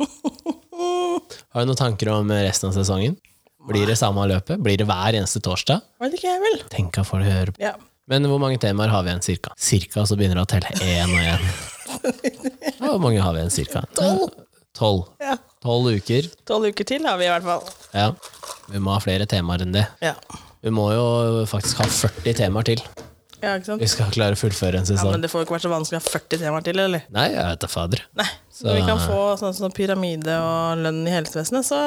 S1: Har du noen tanker om resten av sesongen? Blir det samme løpet? Blir det hver eneste torsdag?
S2: Vet ikke jeg vel.
S1: Tenk hva folk hører på.
S2: Ja.
S1: Men hvor mange temaer har vi igjen, cirka? Cirka, så begynner det å telle én og én. Ja, Hvor mange har vi igjen, cirka? Tolv. Tolv.
S2: Ja.
S1: Tolv uker.
S2: Tolv uker til har vi i hvert fall.
S1: Ja. Vi må ha flere temaer enn det.
S2: Ja,
S1: Vi må jo faktisk ha 40 temaer til.
S2: ja ikke sant?
S1: Vi skal klare å fullføre en
S2: Ja,
S1: sesong.
S2: men det får jo ikke vært så vanskelig å ha 40 temaer til, eller?
S1: Nei, jeg vet da fader.
S2: Nei. Så
S1: Så-
S2: vi kan få sånn som pyramide og lønn i helsevesenet, så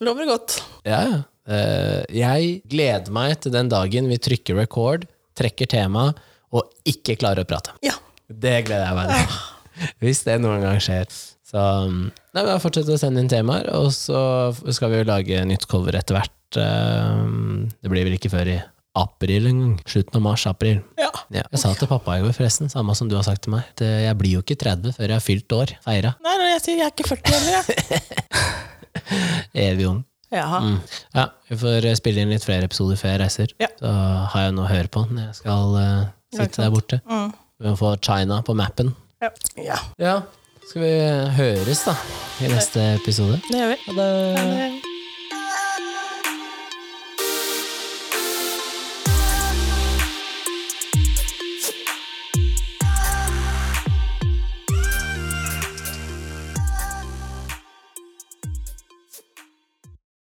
S2: lover det godt.
S1: Ja, ja. Eh, jeg gleder meg til den dagen vi trykker record, trekker tema og ikke klarer å prate.
S2: Ja.
S1: Det gleder jeg meg til. Hvis det noen gang skjer. Så mm, nei, men fortsett å sende inn temaer, og så f- skal vi jo lage nytt cover etter hvert. Eh, Det blir vel ikke før i april engang. Slutten av mars-april.
S2: Ja.
S1: Ja. Jeg sa til pappa i går, forresten, samme som du har sagt til meg, at eh, jeg blir jo ikke 30 før jeg har fylt år. Feira.
S2: Nei, nei, jeg sier jeg er ikke 40 heller, jeg.
S1: Evig ung.
S2: Jaha.
S1: Mm. Ja, vi får eh, spille inn litt flere episoder før jeg reiser.
S2: Ja.
S1: Så har jeg noe å høre på når jeg skal eh,
S2: Ja, ikke Mm.
S1: sitte der borte. Vi må få China på mappen.
S2: Ja. ja.
S1: Ja, skal vi høres da i neste episode.
S2: Det gjør vi.
S1: Ha det.
S2: Det-